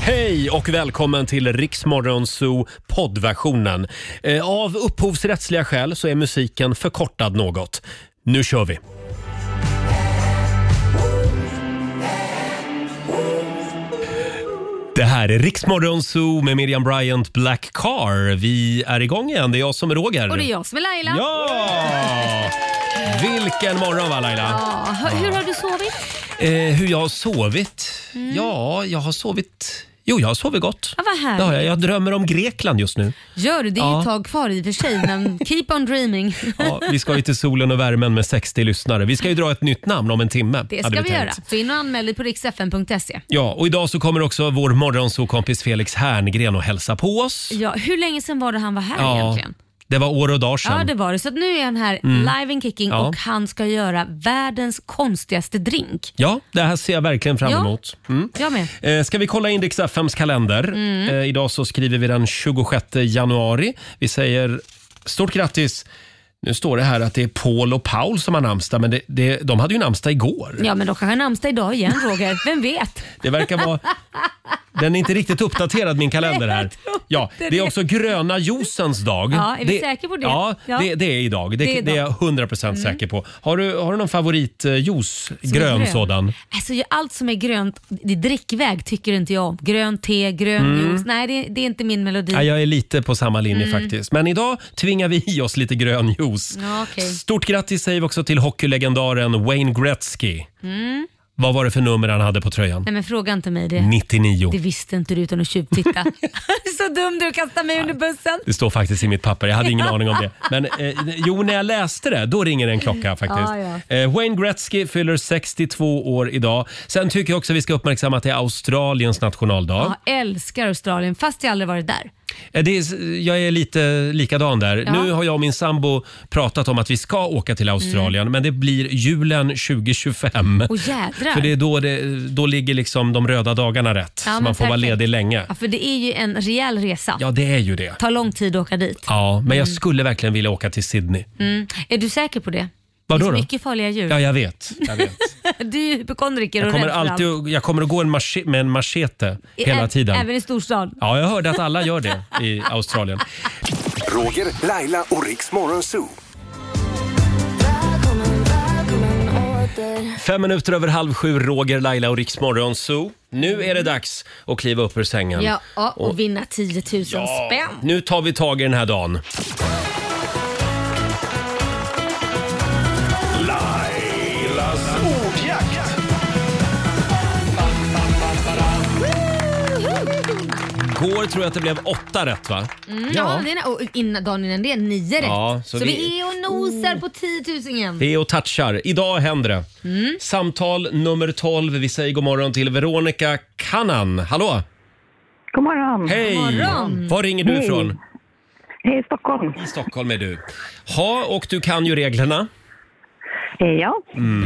Hej och välkommen till Riksmorgon Zoo poddversionen. Eh, Av upphovsrättsliga skäl så är musiken förkortad något. Nu kör vi! Det här är Riksmorgon Zoo med Miriam Bryant Black Car. Vi är igång igen. Det är jag som är Roger. Och det är jag som är Laila. Ja! Vilken morgon va Laila? Ja, hur- Hur har du sovit? Eh, hur jag har sovit? Ja, jag har sovit... Jo, jag har sovit gott. Mm. Ja, vad härligt. Det har jag. jag drömmer om Grekland just nu. Gör du? Det är ju Ja. ett tag kvar i och för sig, men keep on dreaming. Ja, vi ska ju till solen och värmen med 60 lyssnare. Vi ska ju dra ett nytt namn om en timme. Det hade ska vi göra. tänkt. Så in och anmäl dig på riksfn.se. Ja, och idag så kommer också vår morgonsokompis Felix Herngren och hälsa på oss. Ja, hur länge sedan var det han var här Ja, egentligen? Det var år och dagar Ja, sedan. det var det. Så att nu är han här live and kicking Ja. och han ska göra världens konstigaste drink. Ja, det här ser jag verkligen fram Ja. emot. Mm. Jag med. Eh, Ska vi kolla in Rix FMs kalender? Mm. Eh, idag så skriver vi den 26 januari. Vi säger stort grattis. Nu står det här att det är Paul och Paul som har namnsdag, men det, det, de hade ju namnsdag igår. Ja, men då kanske han har namnsdag idag igen Roger. Vem vet? Det verkar vara... Den är inte riktigt uppdaterad min kalender Nej, här. jag tror inte Ja, det är det. också gröna juicens dag. Ja, är vi säkra på det? Ja, Ja. Det, det är idag. Det, Det är Mm. det är jag 100% säker på. Har du, har du någon favoritjuice? Som är Grön, sådan? Alltså, ju- allt som är grönt i drickväg tycker inte jag om. Grönt te, grön Mm. juice. Nej, det, det är inte min melodi. Ja, jag är lite på samma linje Mm. faktiskt. Men idag tvingar vi i oss lite grön juice. Ja, okej. Stort grattis säger vi också till hockeylegendaren Wayne Gretzky. Vad var det för nummer han hade på tröjan? Mm. Nej, men fråga inte mig det. 99. Det visste inte du utan att tjuvtitta. så dum du kastar mig under bussen. Det står faktiskt i mitt papper. Jag hade ingen aning om det. Men eh, jo, när jag läste det, då ringer en klocka faktiskt. Ja, Eh, Wayne Gretzky fyller 62 år idag. Sen tycker jag också vi ska uppmärksamma att det är Australiens nationaldag. Jag älskar Australien fast jag aldrig varit där. Eh, Det är, jag är lite likadan där. Ja. Nu har jag och min sambo pratat om att vi ska åka till Australien, Mm. men det blir julen 2025. Och jädrar. För det är då, det, då ligger liksom de röda dagarna rätt, Ja, så men man får vara perfekt. ledig länge. Ja, för det är ju en rejäl resa. Ja, det är ju det. Tar lång tid att åka dit. Ja, men jag skulle verkligen vilja åka till Sydney. Mm. Är du säker på det? Vadå det är då? så mycket farliga djur. Ja, jag vet. Jag, vet. Du är ju hypokondriker jag och kommer rädd för alltid allt. att- jag kommer att gå en mache, med en machete hela Ä- tiden. Även i storstan. Ja, jag hörde att alla gör det i Australien. Roger, Laila och Riks Morgonzoo. Fem minuter över halv sju, Roger, Laila och Riksmorgon Zoo. Nu är det dags att kliva upp ur sängen. Ja, ja, och vinna 10 000 Ja, spänn. Nu tar vi tag i den här dagen. Lailas ordjakt. Går tror jag att det blev åtta rätt va? Mm, ja. det är, och innan, dagen innan det är nio rätt. Ja, så så vi- vi... är och nosar på 10 000 igen. Vi är och touchar. Idag händer det. Mm. Samtal nummer 12. Vi säger god morgon till Veronica Kannan. Hallå! God morgon. Hej! morgon. Var ringer du Hej. ifrån? Hej Stockholm. I Stockholm är du. Ha, och du kan ju reglerna. Hej, Eh, ja.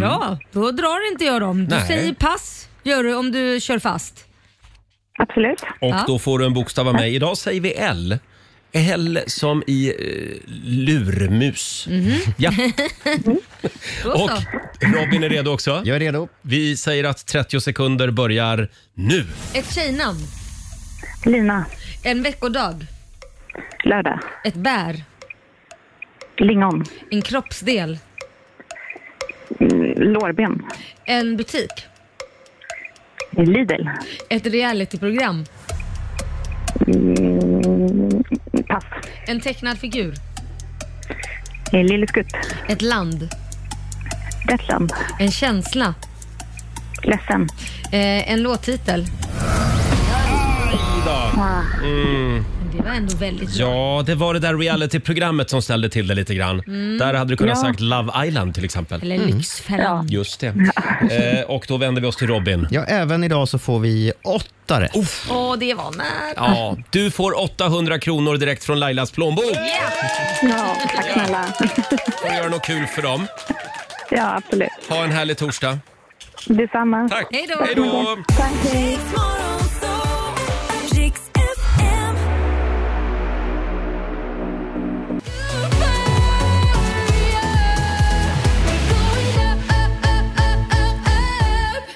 Bra, då drar inte jag dem. Du Mm. Nej. säger pass gör du om du kör fast. Absolut. Och Ja. då får du en bokstav av mig. Idag säger vi L. L som i eh, lurmus. Ja. Mhm. Då Och så. Robin är redo också. Jag är redo. Vi säger att 30 sekunder börjar nu. Ett tjejnamn, Lina. en veckodag, Lördag. ett bär, Lingon. en kroppsdel, Mm, Lårben. Eh, en butik, Lidl. ett realityprogram, Mm, Pass. Eh, en tecknad figur, Lille Skutt. ett land, Lettland. en känsla, Ledsen. eh, en låttitel. Ah, Men Det var ändå väldigt bra. Ja, det var det där realityprogrammet som ställde till det lite grann. Där hade du kunnat Ja. sagt Love Island till exempel. Mm. Eller Lyxfällan. Just det. Eh, och då vänder vi oss till Robin. Ja, även idag så får vi åtta Oh. rätt. Åh, det var nära. Ja, du får 800 kronor direkt från Lailas plånbok. ja, tack snälla. Får göra något kul för dem. Ja, absolut. Ha en härlig torsdag. Detsamma. Tack. Hej då. Hej då. Tack. Hej.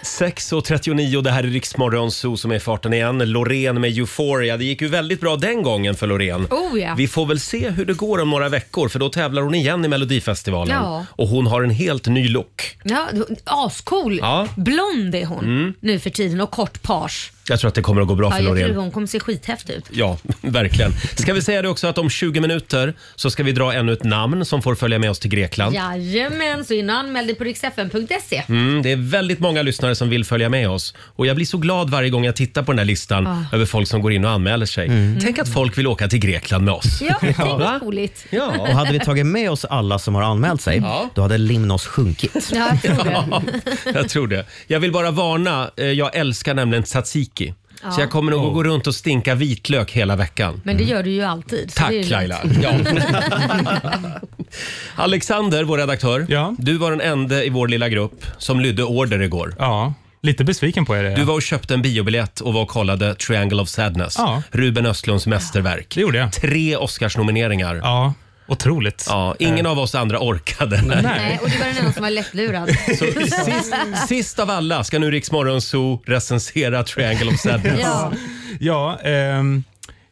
6.39, det här är Riksmorgon Zoo som är i farten igen. Loreen med Euphoria. Det gick ju väldigt bra den gången för Loreen. Oh ja. Vi får väl se hur det går om några veckor för då tävlar hon igen i Melodifestivalen. Ja. Och hon har en helt ny look. Ja, ascool. Ja. Blond är hon Mm. nu för tiden och kort page. Jag tror att det kommer att gå bra Ja, för jag tror Loreen. hon kommer se skithäftig ut. Ja, verkligen. Ska vi säga det också att om 20 minuter så ska vi dra ännu ett namn som får följa med oss till Grekland. Jajamän, så in och anmäl dig på riksfn.se. Mm, det är väldigt många lyssnare som vill följa med oss. Och jag blir så glad varje gång jag tittar på den här listan Ah. över folk som går in och anmäler sig. Tänk att folk vill åka till Grekland med oss. Ja, tänk Va? vad roligt. Ja, Och hade vi tagit med oss alla som har anmält sig, då hade Limnos sjunkit. Ja, jag tror det. Jag tror det. Jag vill bara varna, eh, jag älskar nämligen tzatziki. Ja. Så jag kommer nog att gå runt och stinka vitlök hela veckan. Men det gör du ju alltid. så det är Tack ju Laila. lugnt. Ja. Alexander, vår redaktör. Du var den enda i vår lilla grupp som lydde order igår. Ja, lite besviken på er. Du var och köpte en biobiljett och var och kollade Triangle of Sadness. Ja. Ruben Östlunds mästerverk. Det gjorde jag. Tre Oscarsnomineringar. Ja, otroligt. Ja, ingen av oss andra orkade. Nej, och du var den enda som var lättlurad. sist- Sist av alla ska nu Riksmorgon Zoo recensera Triangle of Sadness. Ja. Ja, ehm,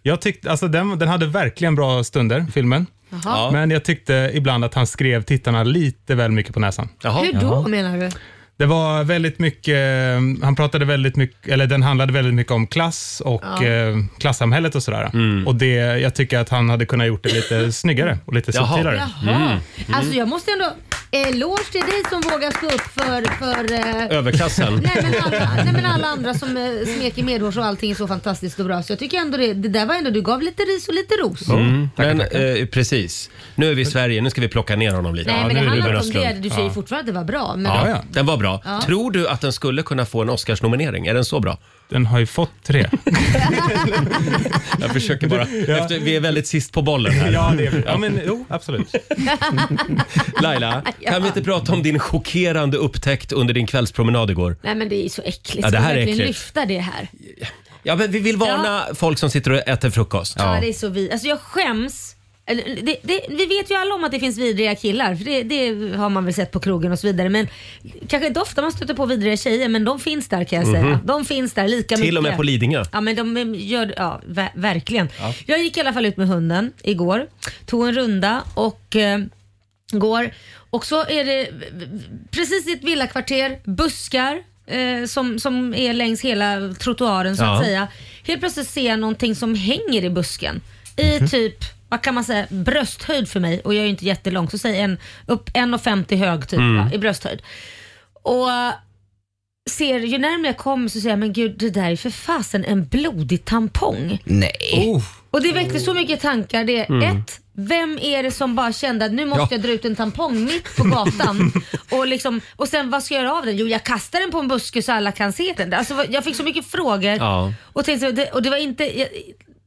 jag tyckte, alltså den, den hade verkligen bra stunder, filmen. Jaha. Men jag tyckte ibland att han skrev tittarna lite väl mycket på näsan. Hur då menar du? Det var väldigt mycket, eh, han pratade väldigt mycket, eller den handlade väldigt mycket om klass och Ja. eh, klassamhället och sådär. Mm. Och det, jag tycker att han hade kunnat gjort det lite snyggare och lite Jaha. subtilare. Jaha. Mm. Alltså jag måste ändå... eh, Eloge till dig som vågar stå upp för... för eh, Överklassen. Nej men, alla, nej men alla andra som eh, smeker medhårs och allting är så fantastiskt och bra. Så jag tycker ändå det, det där var ändå, du gav lite ris och lite ros. Mm. Men eh, precis, nu är vi i Sverige, nu ska vi plocka ner honom lite. Nej men det nu är handlar Ruben inte om det. Östlund. Du säger ju fortfarande att det var bra. Men Ja, Den var bra. Ja. Tror du att den skulle kunna få en Oscarsnominering? Är den så bra? Den har ju fått tre. Jag försöker bara. Efter, vi är väldigt sist på bollen här. Ja, det är, ja, men jo, absolut. Laila, kan vi inte prata om din chockerande upptäckt under din kvällspromenad igår? Nej men det är ju så äckligt. Ja, det Ska vi här är verkligen äckligt. lyfta det här? Ja, men vi vill varna folk som sitter och äter frukost. Ja. det är så vi. Alltså jag skäms. Eller, Det, det, vi vet ju alla om att det finns vidriga killar, för det, det har man väl sett på krogen och så vidare. Men kanske inte ofta man stöter på vidriga tjejer, men de finns där kan jag säga. Mhm. De finns där lika mycket. Till och med på Lidingö. Ja men de gör, ja ver- verkligen. Ja. Jag gick i alla fall ut med hunden igår, tog en runda och eh, går och så är det precis i ett villakvarter, buskar eh, som, som är längs hela trottoaren så Ja. att säga. Helt plötsligt ser jag någonting som hänger i busken i Mhm. typ vad kan man säga, brösthöjd för mig och jag är ju inte jättelång så säg en, upp 1,50 hög typ Mm. va, i brösthöjd. Och ser, ju närmare jag kommer så säger jag men gud det där är för fasen en blodig tampong. Nej. Oh. Och det väckte så mycket tankar. Det är Mm. ett, vem är det som bara kände att nu måste Ja. jag dra ut en tampong mitt på gatan och, liksom, och sen vad ska jag göra av den? Jo jag kastar den på en buske så alla kan se den. Alltså, vad- jag fick så mycket frågor Ja. och, tänkte, och det, och det var inte jag,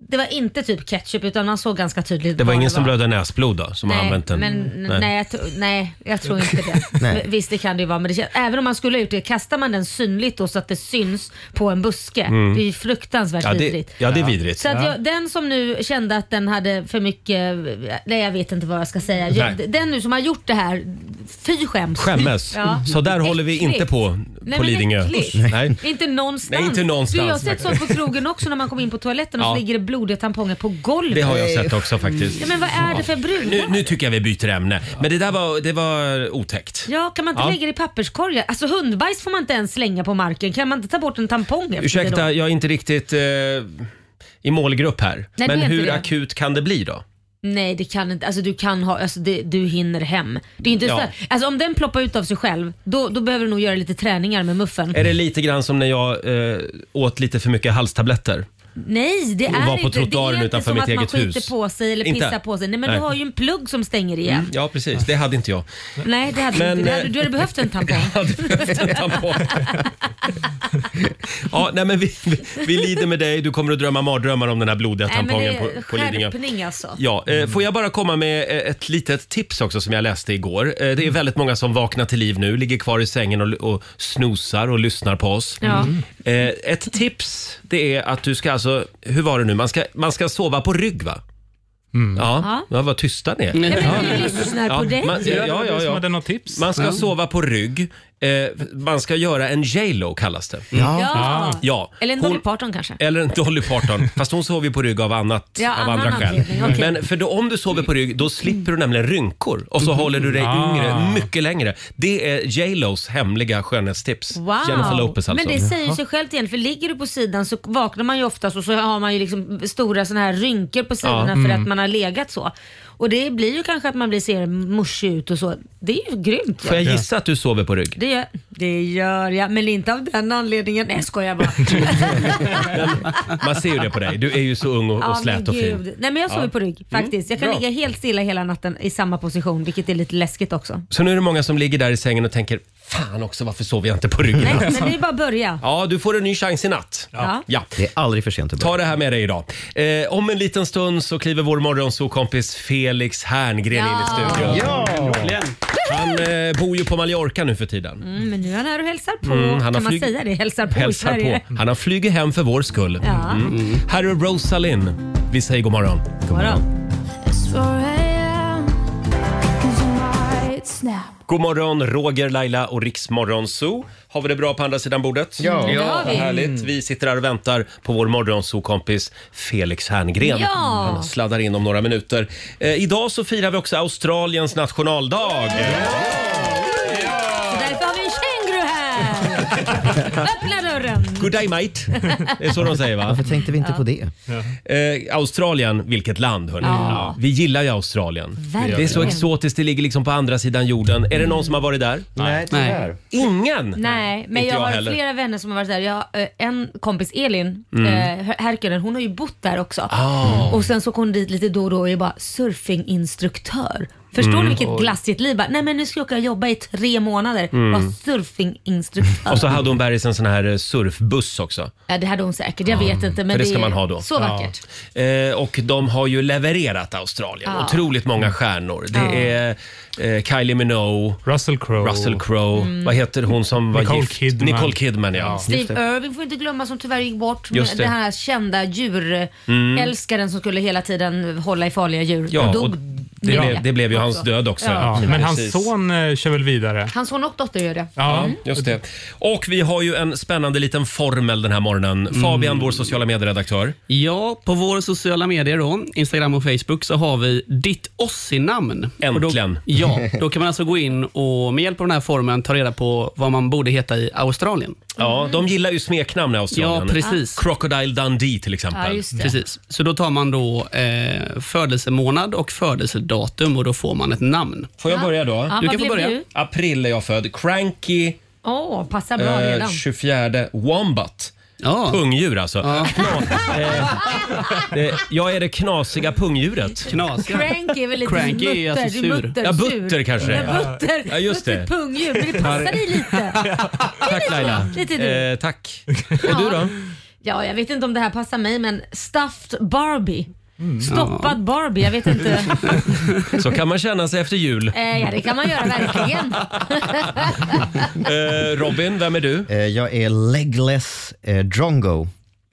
det var inte typ ketchup utan man såg ganska tydligt Det var vad ingen som blödde näsblod då, som har nej, använt den? Men, nej. jag, tro- nej, jag tror inte det. Nej. Men Visst det kan det ju vara men det känns, även om man skulle ha gjort det, kastar man den synligt då så att det syns på en buske. Mm. Det är ju fruktansvärt Ja, det- vidrigt. ja, det är vidrigt. Så att Ja. jag, den som nu kände att den hade för mycket, nej jag vet inte vad jag ska säga. Jag, Nej. den nu som har gjort det här, fy skäms. Skämmes. Så där håller vi inte på Nej, på men Lidingö. äckligt. Nej. Inte någonstans. Nej, inte någonstans. Du, jag har sett sånt på krogen också när man kommer in på toaletten och Ja. så ligger det blodiga tamponger på golvet. Det har jag sett också faktiskt. Mm. Ja, men vad är det för brudar? Nu, nu tycker jag vi byter ämne. Men det där var, det var otäckt. Ja, kan man inte Ja. lägga det i papperskorgar? Alltså hundbajs får man inte ens slänga på marken. Kan man inte ta bort en tampong efter det Ursäkta, då? jag är inte riktigt eh, i målgrupp här. det är men inte hur det. akut kan det bli då? Nej, det kan inte. Alltså du kan ha, alltså det, du hinner hem. Det är inte Ja. så, alltså om den ploppar ut av sig själv, då, då behöver du nog göra lite träningar med muffen. Är det lite grann som när jag eh, åt lite för mycket halstabletter? Nej, det Och är var på inte. Det trottoaren är inte utanför som mitt att man eget skiter hus. på sig eller Inte? pissar på sig. Nej, men Nej. du har ju en plugg som stänger igen. Mm, ja, precis. Det hade inte jag. Nej, det hade Men, du inte. Det eh, hade, du hade behövt en tampong. Ja, nej, men vi, vi, vi lider med dig. Du kommer att drömma mardrömmar om den här blodiga Nej, men det tampongen är på, på Lidingö. skärpning alltså. Ja, eh, får jag bara komma med eh, ett litet tips också som jag läste igår. Eh, det är väldigt många som vaknar till liv nu, ligger kvar i sängen och, och snosar och lyssnar på oss. Ja. Mm. Eh, ett tips det är att du ska alltså, hur var det nu, man ska, man ska sova på rygg va? Ja, ja, vad tysta ni är. Nej, men vi lyssnar på dig. man, ja, ja, ja. Som hade något tips. Man ska Ja. sova på rygg. Eh, man ska göra en J.Lo kallas det. Ja. Ja. Eller en Hon- Eh, Dolly Parton kanske. Eller en Dolly Parton. Fast hon sover ju på rygg av, annat, Ja, av annan andra skäl. anledning, okej. Men för då, om du sover på rygg, då slipper du nämligen rynkor. Och så Mm. håller du dig Ah. yngre mycket längre. Det är J.Los hemliga skönhetstips. Wow. Jennifer Lopez alltså. Men det säger ju sig självt igen för ligger du på sidan så vaknar man ju oftast och så har man ju liksom stora såna här rynkor på sidorna för Mm. att man har legat så. Och det blir ju kanske att man blir ser muschig ut och så. Det är ju grymt. Får jag gissa att du sover på rygg? Det gör, det gör jag, men inte av den anledningen. Nej, jag skojar bara. Man ser ju det på dig. Du är ju så ung och, Ja, och slät men och fin. gud. Nej, men jag sover på rygg faktiskt. Jag kan Bra. ligga helt stilla hela natten i samma position, vilket är lite läskigt också. Så nu är det många som ligger där i sängen och tänker Fan också, varför sover jag inte på ryggen? Nej, men det är bara att börja. Ja, du får en ny chans i natt. Ja. ja. Det är aldrig för sent att Ta börja. det här med dig idag. Eh, om en liten stund så kliver vår morgonsokompis Felix Herngren in i studion. Ja, äntligen. Han eh, bor ju på Mallorca nu för tiden. Mm, men nu är han här och hälsar på. Mm, han har kan man flyg- säga det? Hälsar på i Hälsar Sverige. på. Han har flugit hem för vår skull. Ja. Mm. Här är Rosalind. Vi säger god morgon. Godmorgon. God morgon, Roger, Laila och Riksmorgon Zoo. Har vi det bra på andra sidan bordet? Ja. Det har Vad vi. härligt. Vi sitter här och väntar på vår morgonsokompis Felix Herngren. Ja. Han sladdar in om några minuter. Eh, idag så firar vi också Australiens nationaldag. Så därför har vi en känguru här. Öppna dörren. Good day mate! Det är så de säger va? Varför tänkte vi inte på det? Eh, Australien, vilket land hörni. Ja. Vi gillar ju Australien. Verkligen. Det är så exotiskt, det ligger liksom på andra sidan jorden. Är det någon som har varit där? Nej, tyvärr. Ingen! Nej, men Inte jag jag har heller. flera vänner som har varit där. Jag har eh, en kompis, Elin Mm. eh, Her- Herkönen, hon har ju bott där också. Ah. Och sen så kom hon dit lite då och då och är bara surfinginstruktör. Förstår Mm. ni vilket glassigt liv? Bara, Nej men nu ska jag åka och jobba i tre månader. Mm. Vara surfinginstruktör. Och så hade hon bergis en sån här eh, surfbuss också. Ja, det hade hon säkert, jag vet inte. Men Mm. för det ska är man ha då. Så vackert. Eh, och de har ju levererat Australien. Ja. Otroligt många stjärnor. Det är eh, Kylie Minogue, Russell Crowe. Russell Crowe, Mm. vad heter hon som var Nicole gift? Kidman. Nicole Kidman ja. Steve Irving får inte glömma som tyvärr gick bort. Just Men det. Den här kända djurälskaren som skulle hela tiden hålla i farliga djur. Ja, och dog. och det, vet blev, jag det blev ju hans också. död också. Ja, men hans Precis. son eh, kör väl vidare? Hans son och dotter gör det. Ja. Just det. Och vi har ju en spännande liten formel den här morgonen. Mm. Fabian, vår sociala medieredaktör. Ja, på våra sociala medier då, Instagram och Facebook, så har vi ditt Ossi-namn. Och Äntligen. då, ja, då kan man alltså gå in och med hjälp av den här formen ta reda på vad man borde heta i Australien. Mm. Ja, de gillar ju smeknamn i Australien. Ja, precis. Ah, Crocodile Dundee till exempel. Ja, just det. Precis. Så då tar man då eh, födelsemånad och födelsedatum och då får man ett namn. Får jag börja då? Ja, Du kan vad få blev börja. du? April är jag född. Cranky Åh, passar bra eh, redan. 24 Wombat. Ja, Pungdjur alltså. Kna- eh, det, jag är det knasiga pungdjuret. knasiga. Cranky är väl lite Cranky är mutter, alltså du är sur. mutter, Ja, sur. butter kanske det Ja, är. butter. Ja, just det. Butter, pungdjur, men det passar dig lite. Tack Laila. Lite du. Eh, tack. Och du då? Ja, jag vet inte om det här passar mig, men stuffed Barbie. Mm. Stoppad Barbie, jag vet inte. Så kan man känna sig efter jul. eh, ja, det kan man göra verkligen. Eh, Robin, vem är du? Eh, Jag är legless eh, drongo.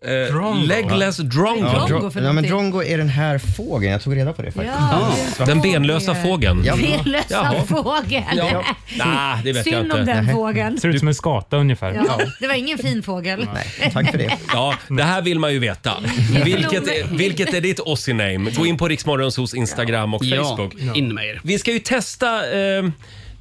Eh, Drongo. legless Drongo. Ja, Drongo Dro- för ja, men någonting. drongo är den här fågeln. Jag tog reda på det faktiskt. Ja, Den benlösa fågeln. Ja. Fellösa Jaha. fågel. Ja. Nah, det vet jag Synd om inte. den fågeln. Ser ut som en skata ungefär. Ja, det var ingen fin fågel. Nej, tack för det. Ja, det här vill man ju veta. Vilket är, vilket är ditt Aussie-name? Gå in på Riksmorgons hos Instagram och Ja, Facebook. in med er. Vi ska ju testa eh,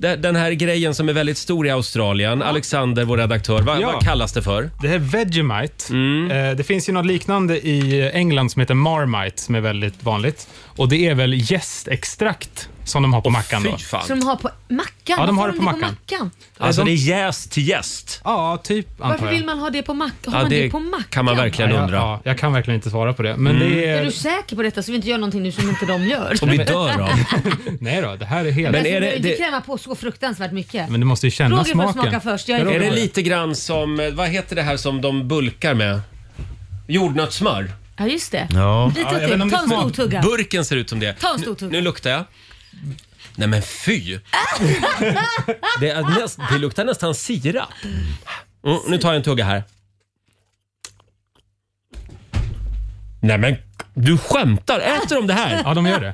de- den här grejen som är väldigt stor i Australien. Alexander, vår redaktör, vad, Ja. vad kallas det för? Det här är Vegemite. Eh, Det finns ju något liknande i England som heter Marmite som är väldigt vanligt. Och det är väl jästextrakt som de har på mackan då. Fy fan. Som de har på mackan. Ja, de har Varför det på det mackan. Alltså de- det är jäst till jäst. Ja, typ antar Varför jag. vill man ha det på mackan? Har Ja, man det, det på mackan? kan man verkligen Ja, undra. Ja, jag Mm. kan verkligen inte svara på det. Men det Är är... du säker på detta så vi inte gör någonting nu som inte de gör? Som vi dör av. Nej då, det här är helt... Men Men, är Alltså, det, du det... det, kräma på så fruktansvärt mycket. du måste ju känna Roger får smaken. smaka först, jag är- Ja, är Roger det får lite grann som, eh, vad heter det här som de bulkar med? Jordnötssmör. Ja, just det. Ja. Lite Ja, jag vet inte till. om Ta det en stor smak- tugga. Burken ser ut som det. Ta en stor tugga. Nu, nu luktar jag. Nej men fy! Det, är näst, det luktar nästan sirap. Mm, nu tar jag en tugga här. Nej men du skämtar! Äter de det här? Ja, de gör det.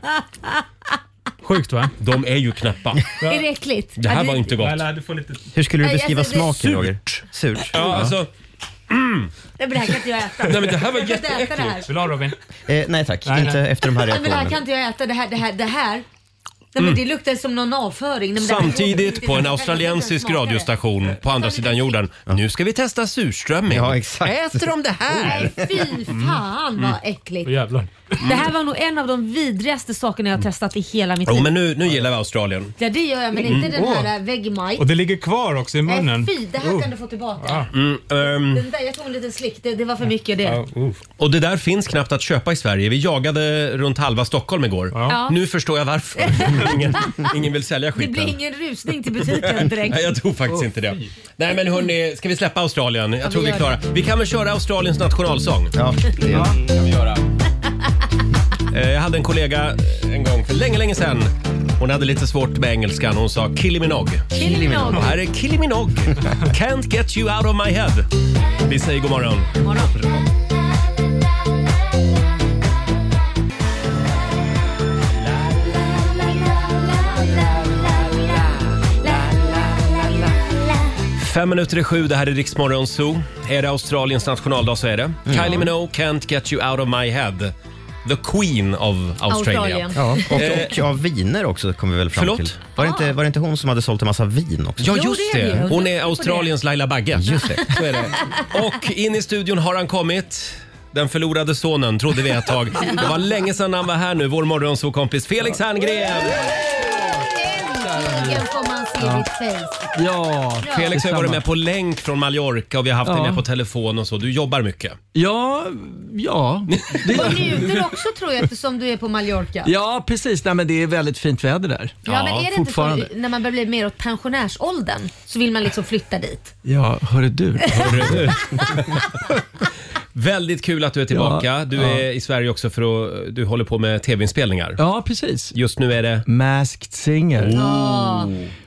Sjukt va? De är ju knappa. Är det äckligt? Det här Ja, var inte gott. Laila, du får lite... Hur skulle du Nej, beskriva alltså, det- smaken Roger? Surt. Ja, alltså, Nej, men det här kan inte jag äta. Nej, men det här var jag kan inte äta det här. Vill du ha Robin? Eh, nej tack, Nej, inte nej. efter de här Nej, men det här kan reaktionerna. inte jag äta. Det här, det här, det här. Nej, men det luktar som någon avföring. Nej, men det här- Mm. samtidigt på en Jag vet inte ens australiensisk smaka det. radiostation på andra sidan jorden. Nu ska vi testa surströmming. Ja, exakt. Äh. Äter de det här? Mm. Nej, fy fan vad äckligt. Åh jävlar. Det här var nog en av de vidrigaste sakerna jag har testat i hela mitt Jo, liv. men nu, nu gillar vi Australien. Ja, det gör jag, men inte Mm. den här äh, Och Vegemite. det ligger kvar också i munnen. Nej, fy, det här kan du få tillbaka. Ehm, Den där, jag tog en liten slick, det, det var för mycket det. Ja. Ja, uff. och det där finns knappt att köpa i Sverige. Vi jagade runt halva Stockholm igår. Ja. Nu förstår jag varför. Ingen, ingen vill sälja Det skiten. blir ingen rusning till butiken direkt. Nej, jag tror faktiskt inte det. Nej, men hörni, ska vi släppa Australien? Jag tror vi vi är gör klara. Vi kan väl köra Australiens nationalsång? Ja, det är... Eh, Jag hade en kollega eh, en gång för länge, länge sedan. Hon hade lite svårt med engelskan. Hon sa Killiminog. Killiminog. Här är Killiminog. Can't get you out of my head. Vi säger god morgon. Fem minuter i sju, det här är Riksmorgon Zoo. Är det Australiens nationaldag så är det. Kylie Minogue, Can't get you out of my head. The Queen of Australia. Australien. Ja, och, och av viner också kom vi väl fram Eh. Förlåt? till. Var det, Ah. inte, var det inte hon som hade sålt en massa vin också? Ja, Jo, just det det. är det. Hon är Australiens Laila Bagge. Just det. Så är det. Och in i studion har han kommit. Den förlorade sonen trodde vi ett tag. Det var länge sedan han var här nu, vår morgonsåkompis Felix Herngren. Äntligen får man se ditt face. Ja, Felix har ju detsamma. varit med på länk från Mallorca och vi har haft dig Ja. med på telefon och så. Du jobbar mycket. Ja, ja. Och njuter också tror jag eftersom du är på Mallorca. Ja, ja, precis. Nej, men det är väldigt fint väder där. men är det inte fortfarande. så när man börjar bli mer åt pensionärsåldern så vill man liksom flytta dit? Ja, hörru du. Väldigt kul att du är tillbaka. Ja, du ja. är i Sverige också för att du håller på med tv-inspelningar. Ja, precis. Just nu är det... Masked Singer.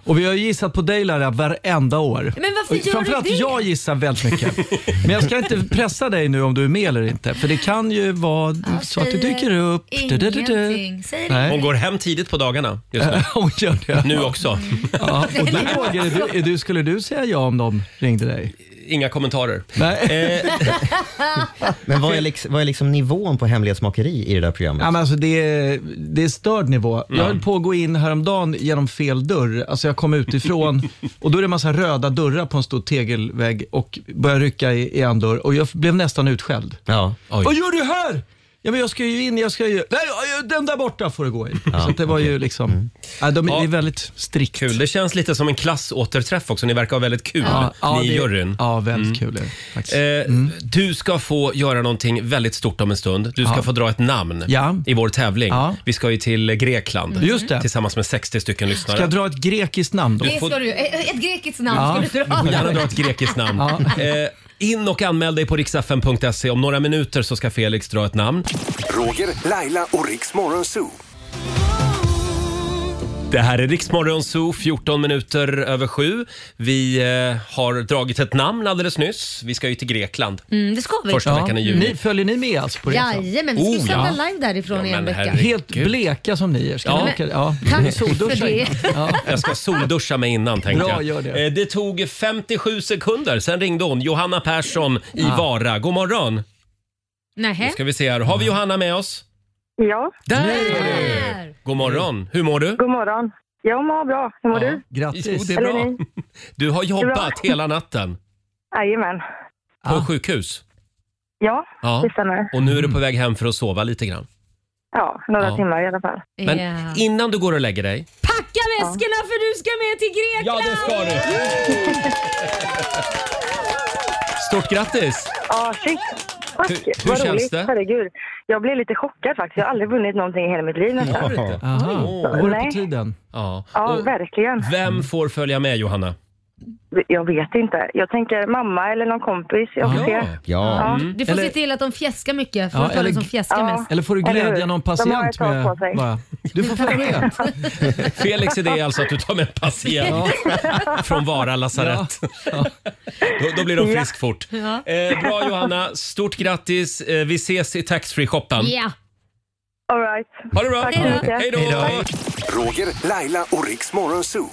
Och vi har ju gissat på dig Laila varenda år. Men varför Och gör du Framförallt det? jag gissar väldigt mycket. Men jag ska inte pressa dig nu om du är med eller inte. För det kan ju vara så att du säger dyker upp. Du, du, du, du. Ingenting. Säger Hon Nej. går hem tidigt på dagarna just nu. Hon gör det. Nu också. Ja, och du Roger, är du, är du, skulle du säga ja om de ringde dig? Inga kommentarer. Nej. Eh, Men vad är, liksom, vad är liksom nivån på hemlighetsmakeri i det där programmet? Ja, men alltså det, är, det är störd nivå. Jag höll på att gå in häromdagen genom fel dörr. Alltså jag kom utifrån och då är det en massa röda dörrar på en stor tegelvägg och började rycka i, i en dörr och jag blev nästan utskälld. Ja. Oj. Vad gör du här? Ja, men jag ska ju in, jag ska ju... Nej, ja, den där borta får du gå i. så att det var ju liksom... Ja, de, Det är väldigt strikt. Kul. Det känns lite som en klassåterträff också. Ni verkar ha väldigt kul, ni i det- juryn. Ja, Mm. väldigt kul är det faktiskt. Eh, Du ska få göra någonting väldigt stort om en stund. Du ska få dra ett namn Ja. i vår tävling. Ja. Vi ska ju till Grekland Just det. tillsammans med 60 stycken lyssnare. Ska jag dra ett grekiskt namn då? Det ska du ju. Ett ett grekiskt namn ska du dra. får gärna dra ett grekiskt namn. Eh, in och anmäl dig på riksfn.se. Om några minuter så ska Felix dra ett namn. Roger, Laila och Riks Morgonzoo. Det här är Riksmorgon Zoo, 14 minuter över sju. Vi eh, har dragit ett namn alldeles nyss. Vi ska ju till Grekland Mm, det ska vi. första veckan i juni. Ni, följer ni med alltså på resan? Jajamän, vi ska ju Oh, sända ja. live därifrån i men en vecka. herregud. Helt bleka som ni är. Ska Ja. ni åka? Ja. Tack för det. Jag ska solduscha mig innan tänkte Bra, jag. gör det. Eh, det tog 57 sekunder, sen ringde hon. Johanna Persson i Ah. Vara. God morgon. Nähä. Nu ska vi se här. Har vi Johanna med oss? Ja, Där är du! God morgon. Hur mår du? god morgon. Jag mår bra. Hur mår du? Jo, Grattis. det är Eller bra. ni? Du har jobbat hela natten Jajamän. på Ah. sjukhus. Ja, Ja. det stämmer. Och nu är du Mm. på väg hem för att sova lite grann. Ja, några Ja. timmar i alla fall. Men Ja. innan du går och lägger dig. Packa väskorna för du ska med till Grekland! du! Stort grattis! Ja, shit. Tack, Hur- hur vad känns roligt. det? Herregud. Jag blev lite chockad faktiskt. Jag har aldrig vunnit någonting i hela mitt liv nästan. Ja. Aha. Åh. Var det på Nej. tiden? Ja. Ja, Och verkligen. vem får följa med Johanna? Jag vet inte. Jag tänker mamma eller någon kompis. Jag får Mm. se. ja. Du får Eller- se till att de fjäskar mycket för Ja, att ta eller- den som fjäskar Ja. mest. Eller får du Eller glädja hur? någon De har ett patient tag med... på sig. bara, Du får följa med. Felix idé är alltså att du tar med en patient från Vara lasarett. Då, då blir de frisk fort. Ja. Eh, bra Johanna, stort grattis. Eh, vi ses i taxfree-shoppen. Ja, All right. Ha det bra! Tack så mycket. Hej då! Roger, Laila och Riks Morgonzoo.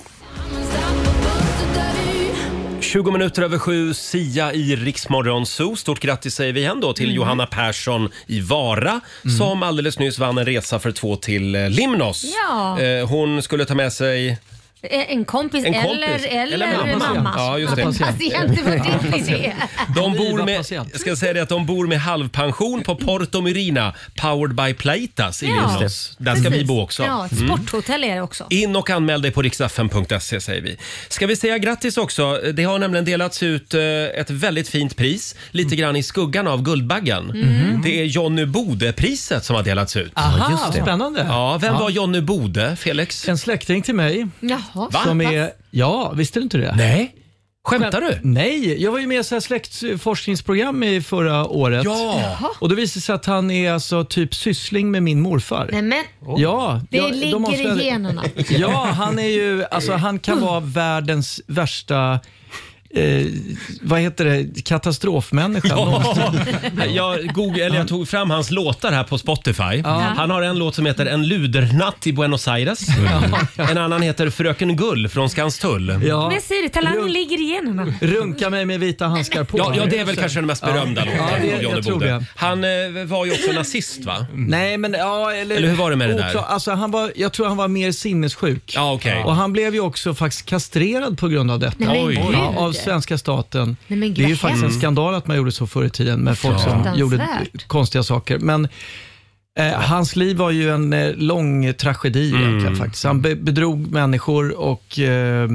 20 minuter över sju, Sia i Riksmorgon Zoo. Stort grattis säger vi igen då till Johanna Persson i Vara som alldeles nyss vann en resa för två till eh, Limnos. Ja. Eh, Hon skulle ta med sig Eh, En kompis, en kompis. eller, eller, mamma. Ja, just det. Patient, det var din idé. De bor Driva med, patient. jag ska säga det att de bor med halvpension på Porto Myrina, powered by Playtas i Ja. Limnos. Där ska vi Precis. bo också. Mm. Ja, ett sporthotell är det också. In och anmäl dig på riksdagen.se säger vi. Ska vi säga grattis också? Det har nämligen delats ut eh, ett väldigt fint pris, lite grann i skuggan av Guldbaggen. Mm. Det är Jonny Bode-priset som har delats Ah. ut. Aha, spännande. Ja, vem var Jonny Bode, Felix? En släkting till mig Jaha. som är... Ja, visste du inte det? Nej, skämtar du? Nej, jag var ju med i ett släktforskningsprogram i förra året. Ja! Och då visade det sig att han är alltså typ syssling med min morfar. Nej, men Ja, det jag- de ligger avslöjade- i generna. Ja, han är ju, alltså han kan vara världens värsta Eh, vad heter det? Katastrofmänniska. Ja. Jag, Google, eller jag tog fram hans låtar här på Spotify. Han har en låt som heter En ludernatt i Buenos Aires. En annan heter Fröken Gull från Skanstull. Mm. Ja. Men jag säger det, talangen Runt- ligger i generna. Runka mig med vita handskar på. Ja, ja, det är väl kanske den mest berömda låten Ja, det- av Johnny jag tror Bode. det. Han eh, var ju också nazist va? Nej, men ja, eller, Eller hur var det med det där? Oklar- Alltså, han var, jag tror han var mer sinnessjuk. Ja, okej. Och han blev ju också faktiskt kastrerad på grund av detta. Nej, men Oj. gud. Ja, av svenska staten. Nej, men gud, det är ju vad faktiskt en Mm. hemskt. skandal att man gjorde så förr i tiden med folk som Fruktansvärt. gjorde konstiga saker. Men eh, hans liv var ju en eh, lång tragedi Mm. egentligen faktiskt. Han be- bedrog människor och eh, eh,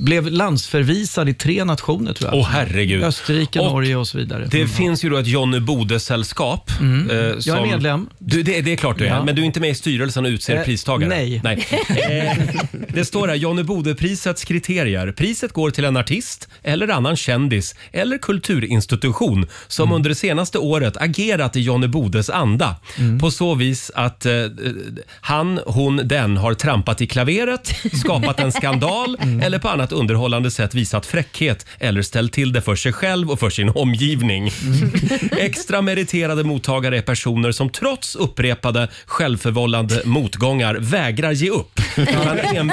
blev landsförvisad i tre nationer tror jag. Åh herregud. Österrike, Och Norge och så vidare. Det finns ju då ett Johnny Bode-sällskap. eh, som- Mm. Jag är medlem. Du, det, det är klart du är, Ja. men du är inte med i styrelsen och utser Eh, pristagare. nej. Eh, det står här, Johnny Bode-prisets kriterier. Priset går till en artist eller annan kändis eller kulturinstitution som under det senaste året agerat i Johnny Bodes anda. På så vis att eh, han, hon, den har trampat i klaveret, skapat en skandal eller på annat underhållande sätt visat fräckhet eller ställt till det för sig själv och för sin omgivning. Extra meriterade mottagare är personer som trots upprepade självförvållande motgångar vägrar ge upp utan, en,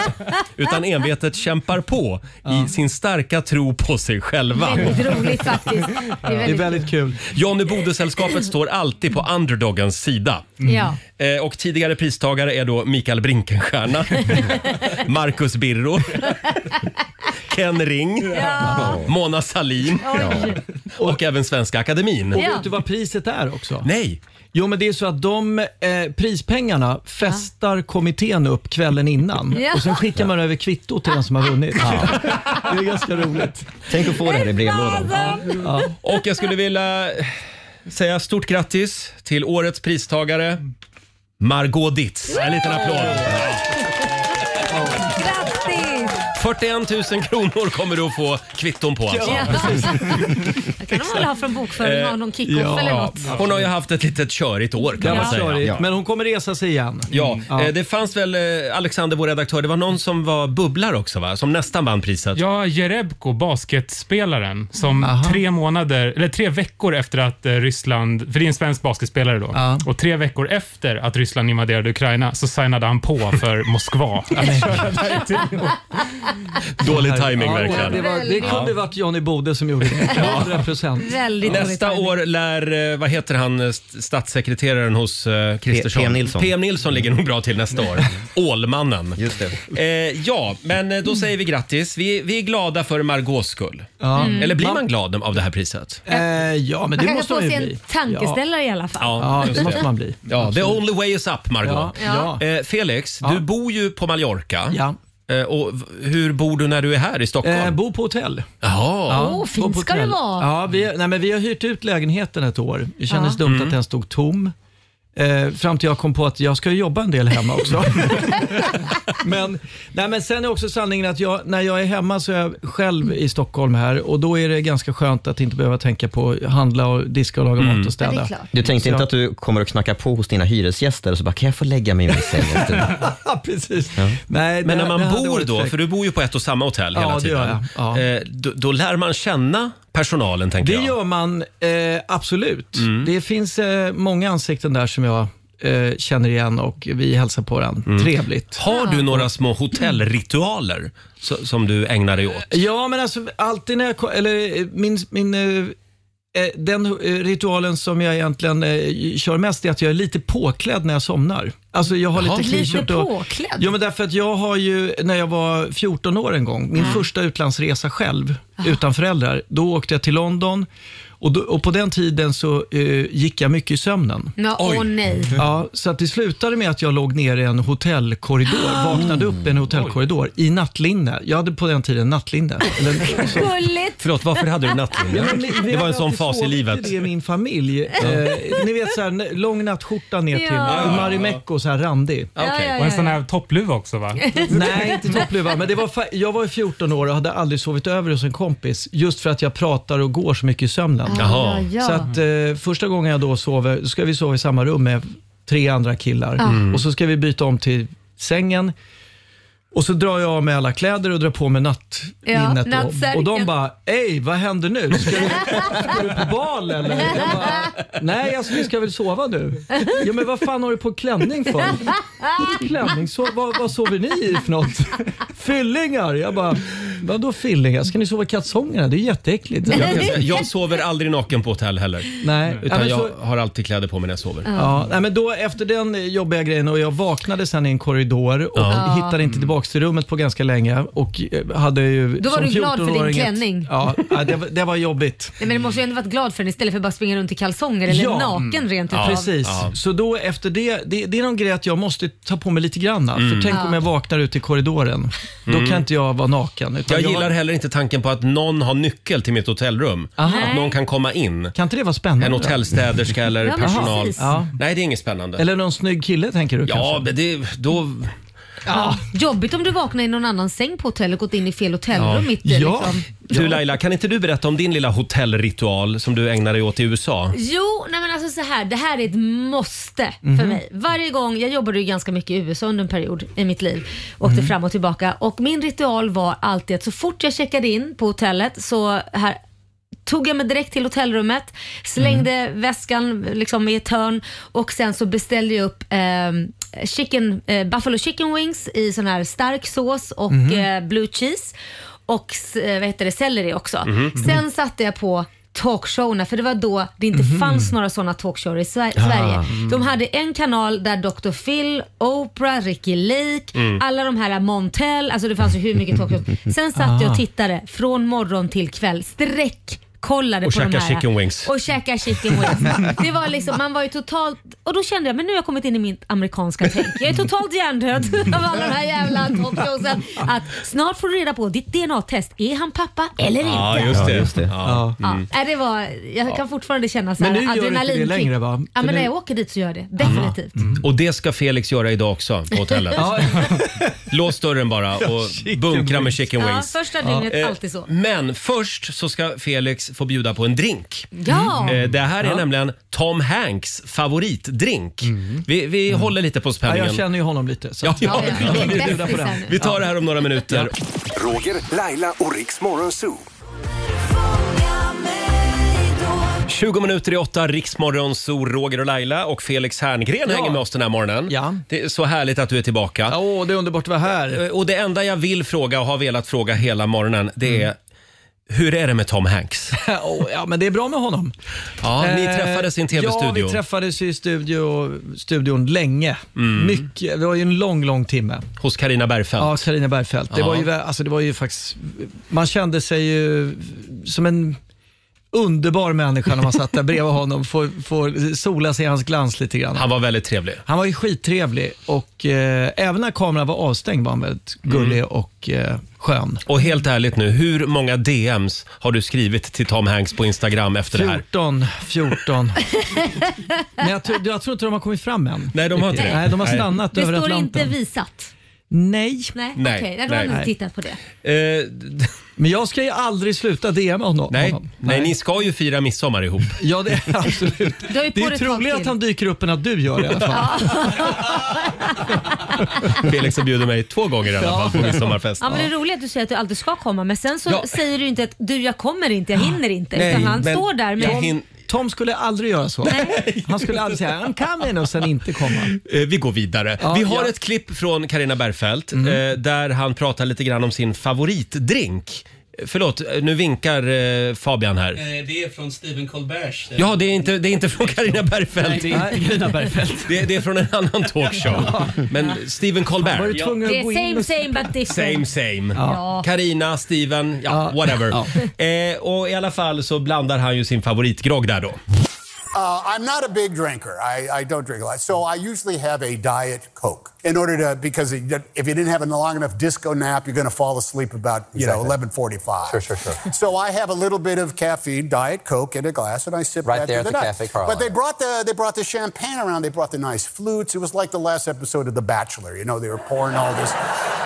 utan envetet kämpar på i sin starka tro på sig själva. Väldigt roligt faktiskt. Det är Det är väldigt, väldigt kul. Johnny Bode-sällskapet står alltid på underdogens sida. Ja. Eh, Och tidigare pristagare är då Mikael Brinkenstierna, Marcus Birro, Ken Ring, Mona Salin Oj. och även Svenska Akademin. Och Ja. vet du vad priset är också? Nej, Jo, men det är så att de eh, prispengarna festar kommittén upp kvällen innan Ja. och sen skickar man över kvittot till den som har vunnit. Det är ganska roligt. Tänk att få det här i brevlådan. Fasen! Och jag skulle vilja säga stort grattis till årets pristagare Margot Dietz. En liten applåd. Grattis! 41 000 kronor kommer du att få kvitton på. Alltså. Ja. Jag kan de väl ha från bokföringen, ha någon kick-off Eh, ja. eller Ja, något. hon har ju haft ett litet körigt år kan Det man var säga. körigt, Ja. men hon kommer resa sig igen. Mm. Ja, Ja. eh, det fanns väl, eh, Alexander vår redaktör, det var någon som var bubblar också va? Som nästan vann priset. Ja, Jerebko, basketspelaren, som tre månader, eller tre veckor efter att eh, Ryssland, för det är en svensk basketspelare då, Ja. och tre veckor efter att Ryssland invaderade Ukraina så signade han på för Moskva. Att köra där i tio år. Dålig timing Ja, verkligen. det, var, det kunde varit Johnny Bode som gjorde det. 100 procent. Väldigt Nästa roligt. år lär, eh, vad heter han, eh, st- statssekreteraren hos eh, Kristersson? P. M. Nilsson. PM Nilsson ligger nog bra till nästa år. Ålmannen. Just det. Eh, ja, men eh, då säger vi grattis. Vi, vi är glada för Margaux skull. Mm. Ja. Eller blir man glad av det här priset? Eh, ja, men Man det kan måste få man ju sig bli. en tankeställare i alla fall. Ja, Ja, just det det. måste man bli. Ja, the only way is up, Ja, Margot. ja. Eh, Felix, du bor ju på Mallorca. ja. Eh, och v- hur bor du när du är här i Stockholm? Eh, bo på hotell. Jaha. Ja, Åh, fint bo på ska det hotell. vara. Ja, vi, nej, men vi har hyrt ut lägenheten ett år. Det kändes dumt Mm. att den stod tom. Eh, fram till jag kom på att jag ska ju jobba en del hemma också. men, nej, men sen är också sanningen att jag, när jag är hemma så är jag själv i Stockholm här och då är det ganska skönt att inte behöva tänka på att handla och diska och laga mat och Mm. Ja, det städa. är klart. Du tänkte Så- inte att du kommer att knacka på hos dina hyresgäster och så bara, kan jag få lägga mig i min säng en stund? Ja, precis. Nej, Men det- när det man hade bor varit då, fräckt. för du bor ju på ett och samma hotell Ja, hela det tiden. gör jag. Ja. Eh, då, då lär man känna personalen tänker Det jag. gör man eh, absolut. Det finns eh, många ansikten där som jag eh, känner igen och vi hälsar på den. Trevligt. Har du några små hotellritualer so- som du ägnar dig åt? Ja, men alltså alltid när jag ko- eller eh, min, min eh, eh, den eh, ritualen som jag egentligen eh, kör mest är att jag är lite påklädd när jag somnar. Alltså jag har Jaha. lite Lite t-shirt och... påklädd? Ja, men därför att jag har ju, när jag var 14 år en gång, min första utlandsresa själv, utan föräldrar, då åkte jag till London och, då, och på den tiden så eh, gick jag mycket i sömnen. Ja, åh nej. Ja, så att det slutade med att jag låg nere i en hotellkorridor, vaknade upp i en hotellkorridor i nattlinne. Jag hade på den tiden nattlinne. Eller, så, Gulligt. Förlåt, varför hade du nattlinne? men vi- vi Det var hade en sån alltid fas i sovit livet. Det i min familj. Eh, ni vet så här, n- lång nattskjorta ner till Ja. Marimekko, så här randig. Ja, ja, Och en ja, sån ja. här toppluva också va? Nej, inte toppluva. Men det var, fa- jag var ju 14 år och hade aldrig sovit över hos en kompis just för att jag pratar och går så mycket i sömnen. Jaha. Ja, ja. Så att eh, första gången jag då sover, då ska vi sova i samma rum med tre andra killar. Mm. Och så ska vi byta om till sängen. Och så drar jag av mig alla kläder och drar på mig Ja, nattlinnet. då. nattsärken. och de bara, ej vad händer nu? Ska du, ska du på bal eller? Jag bara, Nej, alltså, vi ska väl sova nu? Ja, men vad fan har du på klänning för? Klänning? Så, vad, vad sover ni i för något? Fyllingar? Jag bara, vadå fyllingar? Ska ni sova i kalsongerna? Det är jätteäckligt. Jag, kan säga, jag sover aldrig naken på hotell heller. Nej, ja, Utan men jag så, har alltid kläder på mig när jag sover. Ja, nej, men då efter den jobbiga grejen och jag vaknade sen i en korridor och hittade inte tillbaka till rummet på ganska länge. Och eh, hade ju, Då var som du glad för din 14-åringet klänning. Ja, ja, det, var- det var jobbigt. Nej, men du måste ju ändå varit glad för den istället för att bara springa runt i kalsonger eller Ja. naken rent utav. Precis. Så då efter det, det, det är någon grej att jag måste ta på mig lite grann. För tänk om jag vaknar ute i korridoren. Då kan inte jag vara naken. utan Jag gillar heller inte tanken på att någon har nyckel till mitt hotellrum. Att någon kan komma in. Kan inte det vara En spännande? hotellstäderska eller Ja, men personal. precis. Mm. Ja. Nej, det är inget spännande. Eller någon snygg kille tänker du Ja, kanske? men det, då... Ja. Jobbigt om du vaknar i någon annans säng på hotellet och gått in i fel hotellrum mitt i. Ja. Liksom. Du Laila, kan inte du berätta om din lilla hotellritual som du ägnar dig åt i USA? Jo, nej men alltså så här, det här är ett måste för mig. Varje gång, jag jobbade ju ganska mycket i USA under en period i mitt liv. Åkte fram och tillbaka och min ritual var alltid att så fort jag checkade in på hotellet så här, tog jag mig direkt till hotellrummet, slängde väskan liksom i ett hörn och sen så beställde jag upp ehm, chicken, eh, buffalo chicken wings i sån här stark sås och eh, blue cheese och s- eh, vad heter det, selleri också. Sen satte jag på talkshowerna, för det var då det inte fanns några sådana talkshower i Sver- Sverige. De hade en kanal där Dr. Phil, Oprah, Ricky Lake, alla de här Montel, alltså det fanns ju hur mycket talkshows. Sen satt jag och tittade från morgon till kväll, streck kollade Och på de käka här. chicken wings. Och käka chicken wings. Det var liksom, man var ju totalt... Och då kände jag, men nu har jag kommit in i mitt amerikanska tänk. Jag är totalt hjärndöd av alla de här jävla talkshowsen. Att snart får du reda på ditt DNA-test. Är han pappa eller inte? Ja, just det. Ja, just det. Ja. Ja, nej, det var, jag kan fortfarande känna så här mm. Men nu gör du inte det adrenalinkick. längre, va? Ja, men För när nu- Mm. jag åker dit så gör jag det. Definitivt. Och det ska Felix göra idag också på hotellet. Lås dörren bara och bunkra med chicken Mm. Ja, wings. första dygnet Eh, alltid så. Men först så ska Felix få bjuda på en drink. Ja, Eh, Det här är nämligen Tom Hanks favoritdrink. Vi, vi håller lite på Mm. Ja, spänningen. jag känner ju honom lite. Så. Ja, att- ja. ja, ja. vi bjuda är på bästisar den. nu. Vi tar det här om några minuter. Roger, Laila och Riks Morgonzoo. 20 minuter i åtta, Riksmorgon, så Roger och Laila och Felix Herngren hänger med oss den här morgonen. Ja. Det är så härligt att du är tillbaka. Ja, Åh, det är underbart att vara här. Eh, Och det enda jag vill fråga och har velat fråga hela morgonen det är hur är det med Tom Hanks? Åh, Ja, men det är bra med honom. Ja, ni Eh, träffades i en Ja, tv-studio. vi träffades ju i studio, studion länge. Mm. Mycket, det var ju en lång, lång timme. Hos Karina Bergfeldt. Ja, Carina Bergfeldt. Det, Ja. var ju, vä- alltså, det var ju faktiskt, man kände sig ju som en underbar människa när man satt där bredvid honom. Får, får sola sig i hans glans lite grann. Han var väldigt trevlig. Han var ju skittrevlig och eh, även när kameran var avstängd var han väldigt gullig Mm. och eh, skön. Och helt ärligt nu, hur många DMs har du skrivit till Tom Hanks på Instagram efter det här? 14, 14. Men jag, tror- jag tror inte de har kommit fram än. Nej, de har inte det. Nej, de har Nej. stannat Det över står Atlanten. inte visat. Nej. Nej, Nej, okej. Jag nej. har inte tittat på det. Eh, d- Men jag ska ju aldrig sluta DM honom. nej, honom. nej, ni ska ju fira midsommar ihop. Ja, det är absolut. Du har ju Det på är dig ett troligare tag att till. han dyker upp än att du gör det i alla fall. Felix bjuder mig två gånger i alla fall på midsommarfest. Ja, men det är roligt att du säger att du alltid ska komma men sen så Ja. Ah. säger du inte att du jag kommer inte, jag hinner inte. Nej, utan han men står där med jag, hin- Tom skulle aldrig göra så. Han skulle aldrig säga I'm coming och sen inte komma. Eh, Vi går vidare. Ja, vi har ja. Mm. ett klipp från Carina Bergfeldt eh, där han pratar lite grann om sin favoritdrink. Eh, Förlåt, eh, nu vinkar eh, Fabian här. Eh, Det är från Stephen Colberts. eh, Ja, det är inte, det är inte från Carina Nej, Bergfeldt. det är inte Carina Bergfeldt. Det, det är från en annan talkshow. Men Stephen Var du Colbert. tvungen Det att är gå in same och... same but Same different. same. Ja. Karina, Steven, ja, whatever. Eh, och i alla fall så blandar han ju sin favoritgrogg där då. Uh, I'm not a big drinker. I, I don't drink a lot. So I usually have a Diet Coke in order to, because it- if you didn't have a long enough disco nap, you're going to fall asleep about, you know, 11.45. Sure, sure, sure. So I have a little bit of caffeine, Diet Coke in a glass, and I sip Right that there through at the night. Cafe Carlyle. But they brought, the, they brought the champagne around. They brought the nice flutes. It was like the last episode of The Bachelor. You know, they were pouring all this,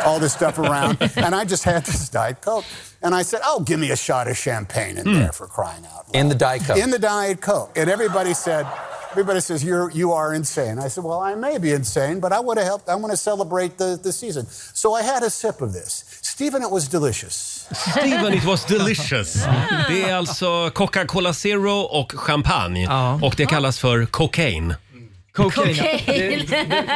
all this stuff around. and I just had this Diet Coke. And I said, oh, give me a shot of champagne in there for crying out loud. In the Diet Coke. In the Diet Coke. And everybody said, everybody says, You're, you are insane. I said, well, I may be insane, but I want to help. I want to celebrate the, the season. So I had a sip of this. Stephen, it was delicious. Steven it was delicious. Det är alltså Coca-Cola Zero och champagne. Ja. Och det kallas för cocaine. Cocaine. Cocaine.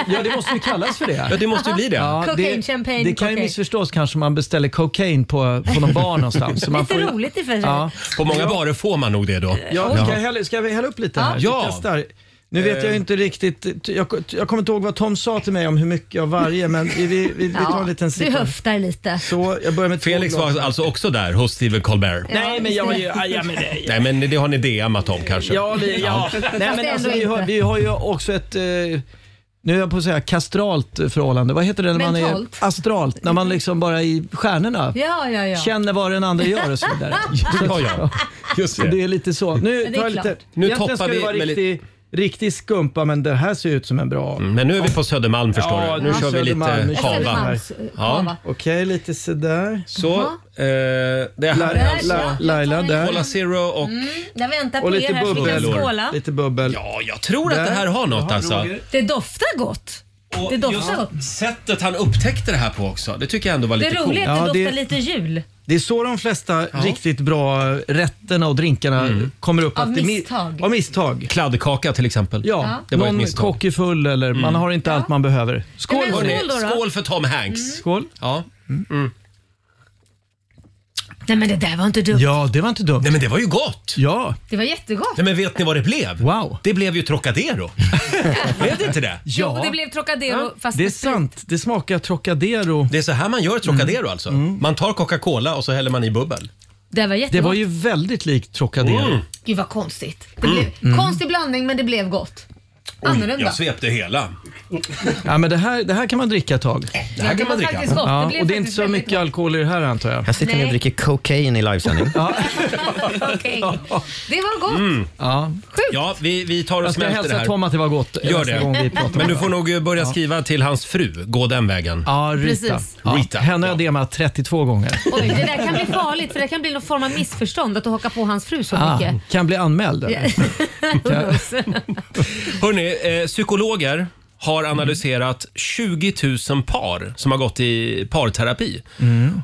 Ja, det måste ju kallas för det. Ja, det måste ju bli det. Ja, Cocaine, champagne, det kan ju cocaine. missförstås kanske om man beställer cocaine på, på någon bar någonstans. Så man Lite får ju- roligt i och för sig. Ja. På många barer får man nog det då. Ja, ska, jag hälla, ska vi hälla upp lite här? Ja. Vi testar. Nu vet jag ju inte riktigt, jag, jag kommer inte ihåg vad Tom sa till mig om hur mycket av varje, men vi, vi, vi, vi tar en liten du sipp. höftar lite. Så, jag börjar med två Felix glas. var alltså också där hos Steven Colbert. Nej, men jag, jag, jag men det, Nej, men det har ni DMat om kanske. Ja, det, ja. Nej, men ändå alltså, vi, har, inte. vi har ju också ett eh, nu är jag på att säga kastralt förhållande. Vad heter det när man Mentalt. Mm. är astralt? När man liksom bara är i stjärnorna Ja, ja, ja. känner vad den andra gör och så vidare. Ja, ja. Just Så det det. är lite så. Nu, är tar jag klart. lite, Nu egentligen toppar ska det vi vara med lite- Mm. riktig, riktig skumpa men det här ser ut som en bra. Men nu är vi på Södermalm förstår Ja, du. Nu ja. kör vi Södermalm. lite Nu kör vi kava. Malm. Södermalms, eh, Ja. kava. Okej, lite sådär. Så, eh, det här är Laila, alltså la, Laila Cola där. Zero och... Mm. Jag väntar på Och er lite här så vi kan bubbel. skåla. Lite bubbel. Ja, jag tror att det här har något Jaha, alltså. Roger. Det doftar gott. Det doftar gott. Sättet han upptäckte det här på också, det tycker jag ändå var Det lite roliga coolt. är att det Ja, doftar lite jul. Det är så de flesta riktigt bra rätterna och drinkarna Mm. kommer upp. Av att det är mi- misstag. Av misstag. Kladdkaka till exempel. Ja, Det var ett någon misstag. Mm. kock är full eller man har inte allt man behöver. Skål Nej, men hörni. skål då, Mm. då. Skål för Tom Hanks. Skål. Ja. Nej men det där var inte dumt. Ja, det var inte dumt. Nej men det var ju gott! Ja, Det var jättegott. Nej men vet ni vad det blev? Wow. Det blev ju Trocadero. blev det inte det? Jo, det blev Trocadero fast det är med sprit. sant. Det smakar Trocadero. Det är så här man gör Trocadero alltså. Man tar Coca-Cola och så häller man i bubbel. Det var jättegott. Det var ju Mm. väldigt likt Trocadero. Mm. Gud vad konstigt. Det blev... Konstig blandning men det blev gott. Annorlunda. Jag svepte hela. Ja, men det, här, det här kan man dricka ett tag. Det här kan man var dricka. faktiskt gott. Ja, blev och det är inte faktiskt så väldigt mycket alkohol i det här antar jag. Här sitter ni Nej. och dricker cocaine i livesändning. gott. Okej. Det var gott. Ja. Ja, vi, vi tar och Jag ska smälter det hälsa här. Tom att det var gott Gör nästa gång vi det. pratar Men om du det. får nog eh, börja skriva till hans fru. Gå den vägen. Ja, Rita. Precis. Ja, Rita, Henne ja. har jag demat 32 gånger. Oj, det där kan bli farligt för det kan bli någon form av missförstånd att du hakar på hans fru så Ah, mycket. kan bli anmäld. eller? Hörrni, eh, psykologer har analyserat 20 000 par som har gått i parterapi.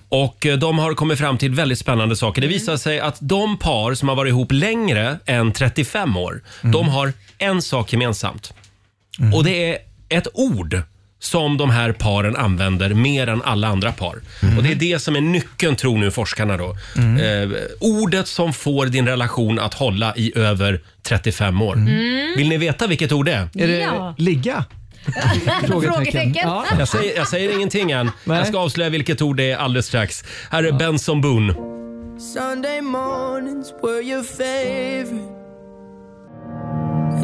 Och eh, De har kommit fram till väldigt spännande saker. Det visar sig att de par som har varit ihop längre än 35 år, de har en sak gemensamt. Och det är ett ord som de här paren använder mer än alla andra par. Och Det är det som är nyckeln, tror nu forskarna. Då. Eh, ordet som får din relation att hålla i över 35 år. Mm. Vill ni veta vilket ord det är? Är det Ja. ligga? Frågetecken. Ja. Jag säger, jag säger ingenting än. Nej. Jag ska avslöja vilket ord det är alldeles strax. Här är Benson Boone. Sunday mornings were your favorite.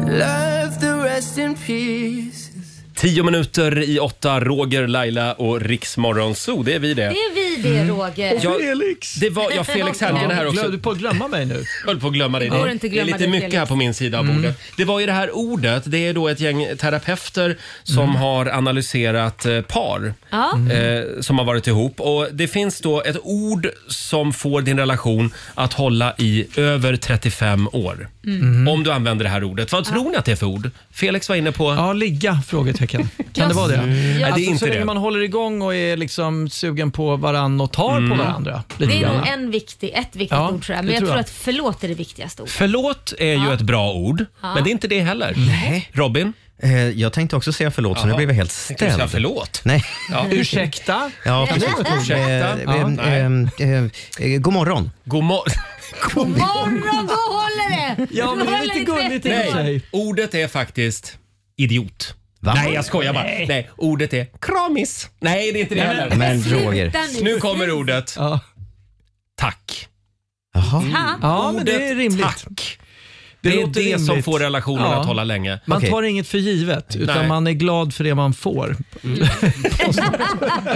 Love the rest in peace. Tio minuter i åtta, Roger, Laila och Riksmorgon Zoo. Det är vi det. Det är vi det Mm. Roger. Jag- Felix! Det var jag Felix Herngren här också. Glömde du på att glömma mig nu? höll på att glömma dig. Det går Det, inte att det är glömma lite dig, mycket Felix. Mm. här på min sida av bordet. Det var ju det här ordet. Det är då ett gäng terapeuter som Mm. har analyserat eh, par Ja. Mm. eh, som har varit ihop. Och Det finns då ett ord som får din relation att hålla i över 35 år. Mm. Om du använder det här ordet. Vad tror ni att det är för ord? Felix var inne på... Ja, ligga? Frågetecken. Kan det vara det? Ja. Nej, det är Alltså, inte så länge det. man håller igång och är liksom sugen på an och tar på Mm. varandra. Lite Det är grann. nog en viktig, ett viktigt Ja, ord tror jag. det Men jag tror tror jag. att förlåt är det viktigaste ordet. Förlåt är ju ett bra ord, Ja. men det är inte det heller. Nej. Robin? Eh, jag tänkte också säga förlåt, så Jaha. nu blev jag helt Tänkte du säga ställd. förlåt? Nej. Ja. Mm. Ursäkta? Ja, precis. Ursäkta. Eh, Ja, eh, nej. eh, eh, eh, God morgon. God morgon. God morgon, då håller det! Då håller tvätt. Nej, ordet är faktiskt idiot. Nej, jag skojar bara. Nej. ordet är kramis. Nej, det är inte det Nej, men- heller. Men Roger. Sluta nu. Nu kommer ordet. Tack. Tack. Ja, men det är Ordet rimligt. Tack. Det, är låter det som rimligt. får relationen Ja. att hålla länge. Man tar inget för givet, utan Nej. man är glad för det man får.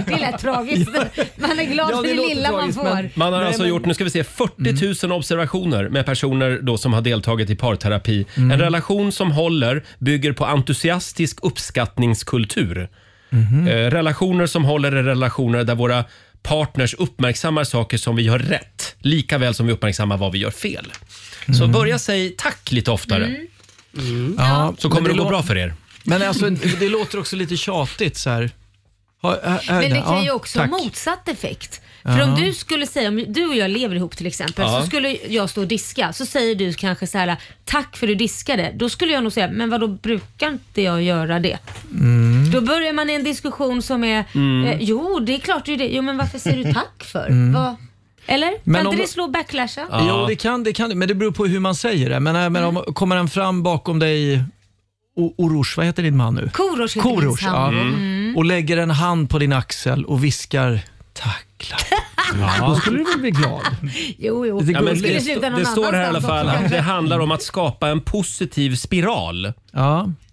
det lät tragiskt. Man är glad Ja, för det det låter lilla man tragiskt, får. men- Man har Nej, alltså men- gjort, nu ska vi se, 40 000 observationer med personer då som har deltagit i parterapi. En relation som håller bygger på entusiastisk uppskattningskultur. Eh, relationer som håller är relationer där våra partners uppmärksammar saker som vi gör rätt, lika väl som vi uppmärksammar vad vi gör fel. Så börja säga tack lite oftare. Ja, Så kommer men det, det gå lå- bra för er. Men alltså, det låter också lite tjatigt så här. Ha- ha- ha- Men det kan ja, ju också ha tack. motsatt effekt. För Ja. om du skulle säga, om du och jag lever ihop till exempel, Ja. så skulle jag stå och diska. Så säger du kanske så här, tack för du diskade. Då skulle jag nog säga, men vadå brukar inte jag göra det? Då börjar man i en diskussion som är, Mm. eh, jo det är klart du är det. Jo men varför säger du tack för? Mm. Vad? Eller? Men kan om- inte det slå backlasha? Jo, det kan, det kan men det beror på hur man säger det. Men, äh, men Mm. om, kommer den fram bakom dig, O- Orosh, vad heter din man nu? Korosh heter Korosh, min ja. sambo. Mm. Och lägger en hand på din axel och viskar tack. Ja. Då skulle du väl bli glad? Jo, jo. Ja, men Skulle det sluta st- någon det står här i alla annanstans fall också, att kanske. det handlar om att skapa en positiv spiral.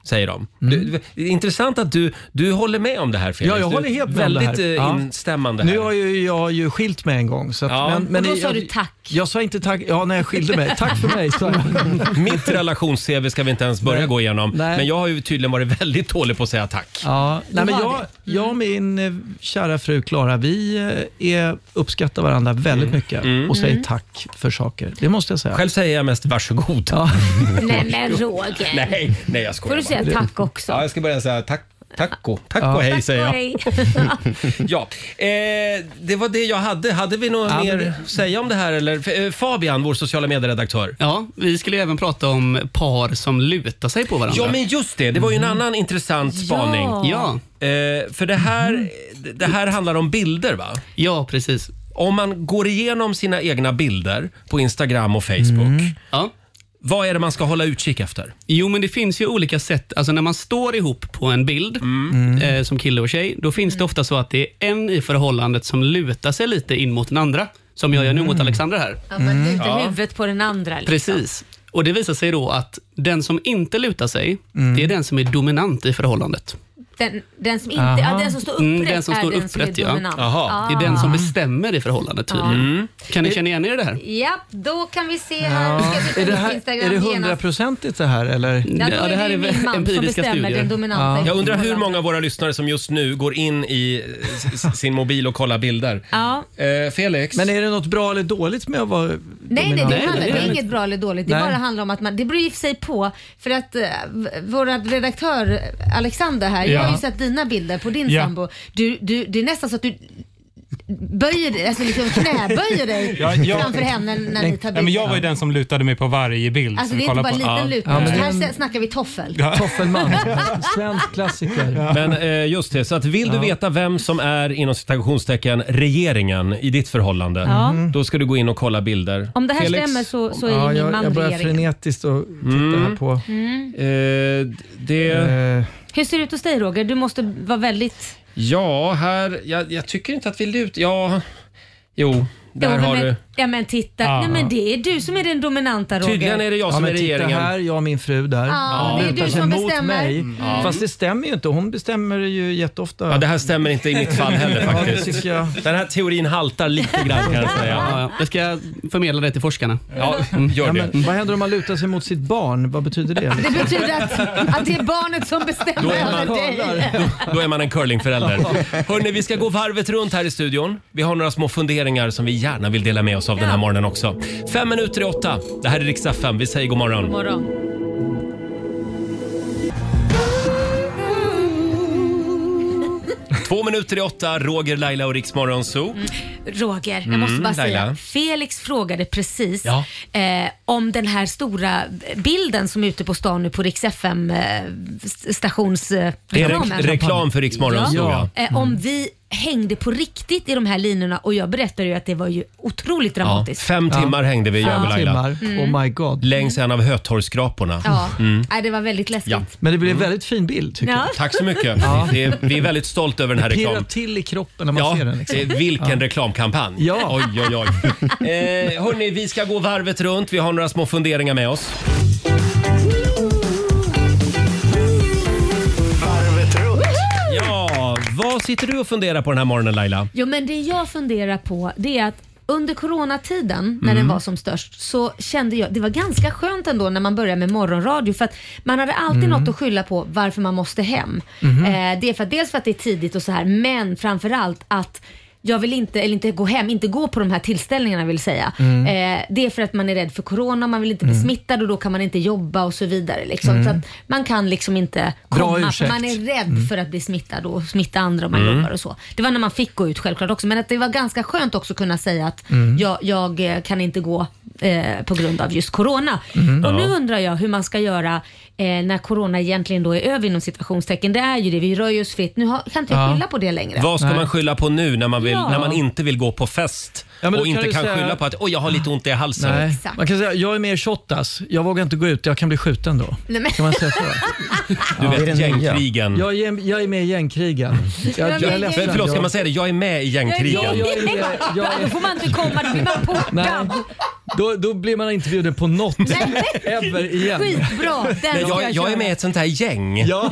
Säger de. Du, det är intressant att du, du håller med om det här Felix. Mm. Ja, jag Du är håller helt med om det Väldigt här. eh, Ja. instämmande här. Nu har ju jag ju skilt mig en gång. Så att, Ja. men, men Och då sa jag, du tack. Jag sa inte tack, ja när jag skilde mig. Tack för mig, sa jag. Mitt relations-CV ska vi inte ens börja gå igenom. Nej. Men jag har ju tydligen varit väldigt dålig på att säga tack. Ja, nej, men har jag, jag och min eh, kära fru Klara, vi eh, är, uppskattar varandra väldigt mycket och säger Mm. tack för saker. Det måste jag säga. Själv säger jag mest varsågod. Ja. Nej men Roger. nej, nej, jag skojar Får du bara. säga tack också? Ja, jag ska börja säga tack. Taco, tack Ja. och hej Tack säger och jag. hej. ja, eh, det var det jag hade. Hade vi något Ja, mer men att säga om det här? Eller? Eh, Fabian, vår sociala medieredaktör. Ja, vi skulle ju även prata om par som lutar sig på varandra. Ja, men just det. Det var ju en Mm. annan intressant spaning. Ja. Mm. Eh, för det här, det här handlar om bilder, va? Ja, precis. Om man går igenom sina egna bilder på Instagram och Facebook. Mm. Ja. Vad är det man ska hålla utkik efter? Jo, men det finns ju olika sätt. Alltså när man står ihop på en bild Mm. eh, som kille och tjej, då Mm. finns det ofta så att det är en i förhållandet som lutar sig lite in mot den andra. Som jag gör nu Mm. mot Alexandra här. Ja, man lutar huvudet på den andra. Liksom. Precis. Och det visar sig då att den som inte lutar sig, Mm. det är den som är dominant i förhållandet. Den, den som inte, ja, Aha. den som står upprätt Mm, den som står är den upprätt, som ja. är dominant. Ah. Det är Ah. den som bestämmer i förhållandet tydligen. Kan ni känna igen er i Mm. det här? Ja, då kan vi se här. Ja. Ska vi ta Är, det upp här är Instagram det genast? hundraprocentigt det här eller? Ja, då är det här är min man som bestämmer den dominanta. Jag undrar hur förhållandet. många av våra lyssnare som just nu går in i eh, s- s- sin mobil och kollar bilder. Ja. Eh, Felix? Men är det något bra eller dåligt med att vara Nej, nej, dominant? det, handlar, det är inget bra eller dåligt. Det Nej. bara handlar om att man, det beror ju sig på. För att uh, vår redaktör Alexander här, jag har ju Ja. sett dina bilder på din Ja. sambo. Du, du, det är nästan så att du böjer dig, alltså liksom knäböjer dig Ja, jag- framför henne när ni tar Nej, men jag var ju bilder. den som lutade mig på varje bild. Alltså som det är vi inte bara kollade en på. liten Ja. lutning. Ja, men- Här snackar vi toffel. Ja. Toffelman. Svensk klassiker. Men eh, just det, så att vill du Ja. veta vem som är inom citationstecken regeringen i ditt förhållande, Ja. Mhm. då ska du gå in och kolla bilder. Om det här Felix? stämmer så, så är ja, min jag, man jag börjar regeringen. frenetiskt och titta här på. Mm. Eh, det... Hur ser det ut hos dig Roger? Du måste vara väldigt... Ja, här... Jag, jag tycker inte att vi lutar... Ja... Jo, där Ja, har men, du... Ja men titta. Ja. Nej men det är du som är den dominanta Roger. Tydligen är det jag Ja, som men är titta regeringen. här, jag och min fru där. Ja, det är Lutar du sig som mot bestämmer. mig. Mm. Fast det stämmer ju inte. Hon bestämmer ju jätteofta. Ja, det här stämmer inte i mitt fall heller Ja, det faktiskt. tycker jag. Den här teorin haltar lite grann kan jag Ja, säga. ja. Jag ska förmedla det till forskarna. Ja, gör Ja, det. men, vad händer om man lutar sig mot sitt barn? Vad betyder det? Liksom? Det betyder att, att det är barnet som bestämmer Då är man- över dig. Då är man en curlingförälder. Hörni, vi ska gå varvet runt här i studion. Vi har några små funderingar som vi gärna vill dela med oss av den här morgonen också. Fem minuter i åtta. Det här är riksdag 5. Vi säger god morgon. morgon. Två minuter i åtta, Roger, Laila och Riksmorgon Zoo. Roger, jag Mm, måste bara Laila. säga. Felix frågade precis Ja. eh, om den här stora bilden som är ute på stan nu på Rix FM eh, s- stations... Eh, Det är reklamen. re- reklam för Rix Morgon Zoo, ja. Eh, Om vi hängde på riktigt i de här linorna och jag berättade ju att det var ju otroligt Ja, dramatiskt. fem timmar hängde vi, jag och Laila. Mm. Oh my god. Längs en av Hötorgsskraporna. Ja. Mm. Nej, det var väldigt läskigt. Ja. Men det blev Mm. en väldigt fin bild tycker Ja. jag. Tack så mycket. Ja. Det är, vi är väldigt stolta över den här Det pirrar reklamen. till i kroppen när man ja, ser den. Liksom. det är vilken Ja. reklamkampanj. Ja. Oj, oj, oj. Eh, hörni, vi ska gå varvet runt. Vi har några små funderingar med oss. Varvet runt. Ja, vad sitter du och funderar på den här morgonen Laila? Jo, men det jag funderar på det är att under coronatiden när Mm. den var som störst så kände jag, det var ganska skönt ändå när man började med morgonradio för att man hade alltid Mm. något att skylla på varför man måste hem. Mhm. Eh, det är för att, dels för att det är tidigt och så här men framförallt att jag vill inte, eller inte gå hem, inte gå på de här tillställningarna vill säga. Mm. Eh, det är för att man är rädd för corona, man vill inte bli Mm. smittad och då kan man inte jobba och så vidare. Liksom. Mm. Så att man kan liksom inte Bra komma för ursäkt. man är rädd Mm. för att bli smittad och smitta andra om man Mm. jobbar och så. Det var när man fick gå ut självklart också men att det var ganska skönt också att kunna säga att Mm. jag, jag eh, kan inte gå eh, på grund av just corona. Mm. Och nu Ja. undrar jag hur man ska göra eh, när corona egentligen då är över inom citationstecken. Det är ju det, vi rör ju oss fritt. Nu har, kan inte jag Ja. skylla på det längre. Vad ska man skylla på nu när man, vill, Ja. när man inte vill gå på fest Ja, men då och kan inte du kan säga- skylla på att oj, jag har lite ont i halsen? Nej. Man kan säga, jag är mer shottas. Jag vågar inte gå ut, jag kan bli skjuten då. Nej, men- Kan man säga så? Du Ja. vet, Det är den nya. gängkrigen. Mm. Jag är, jag är med i gängkrigen. Jag är med i gängkrigen. Förlåt, ska man säga det? Jag är med i gängkrigen. Jag- jag är- jag- Då får man inte komma, då blir man portad. Nej. Då, då blir man inte bjuden på något ever igen. Skitbra, den ska Nej, jag, jag, jag köra. är med i ett sånt här gäng. Ja.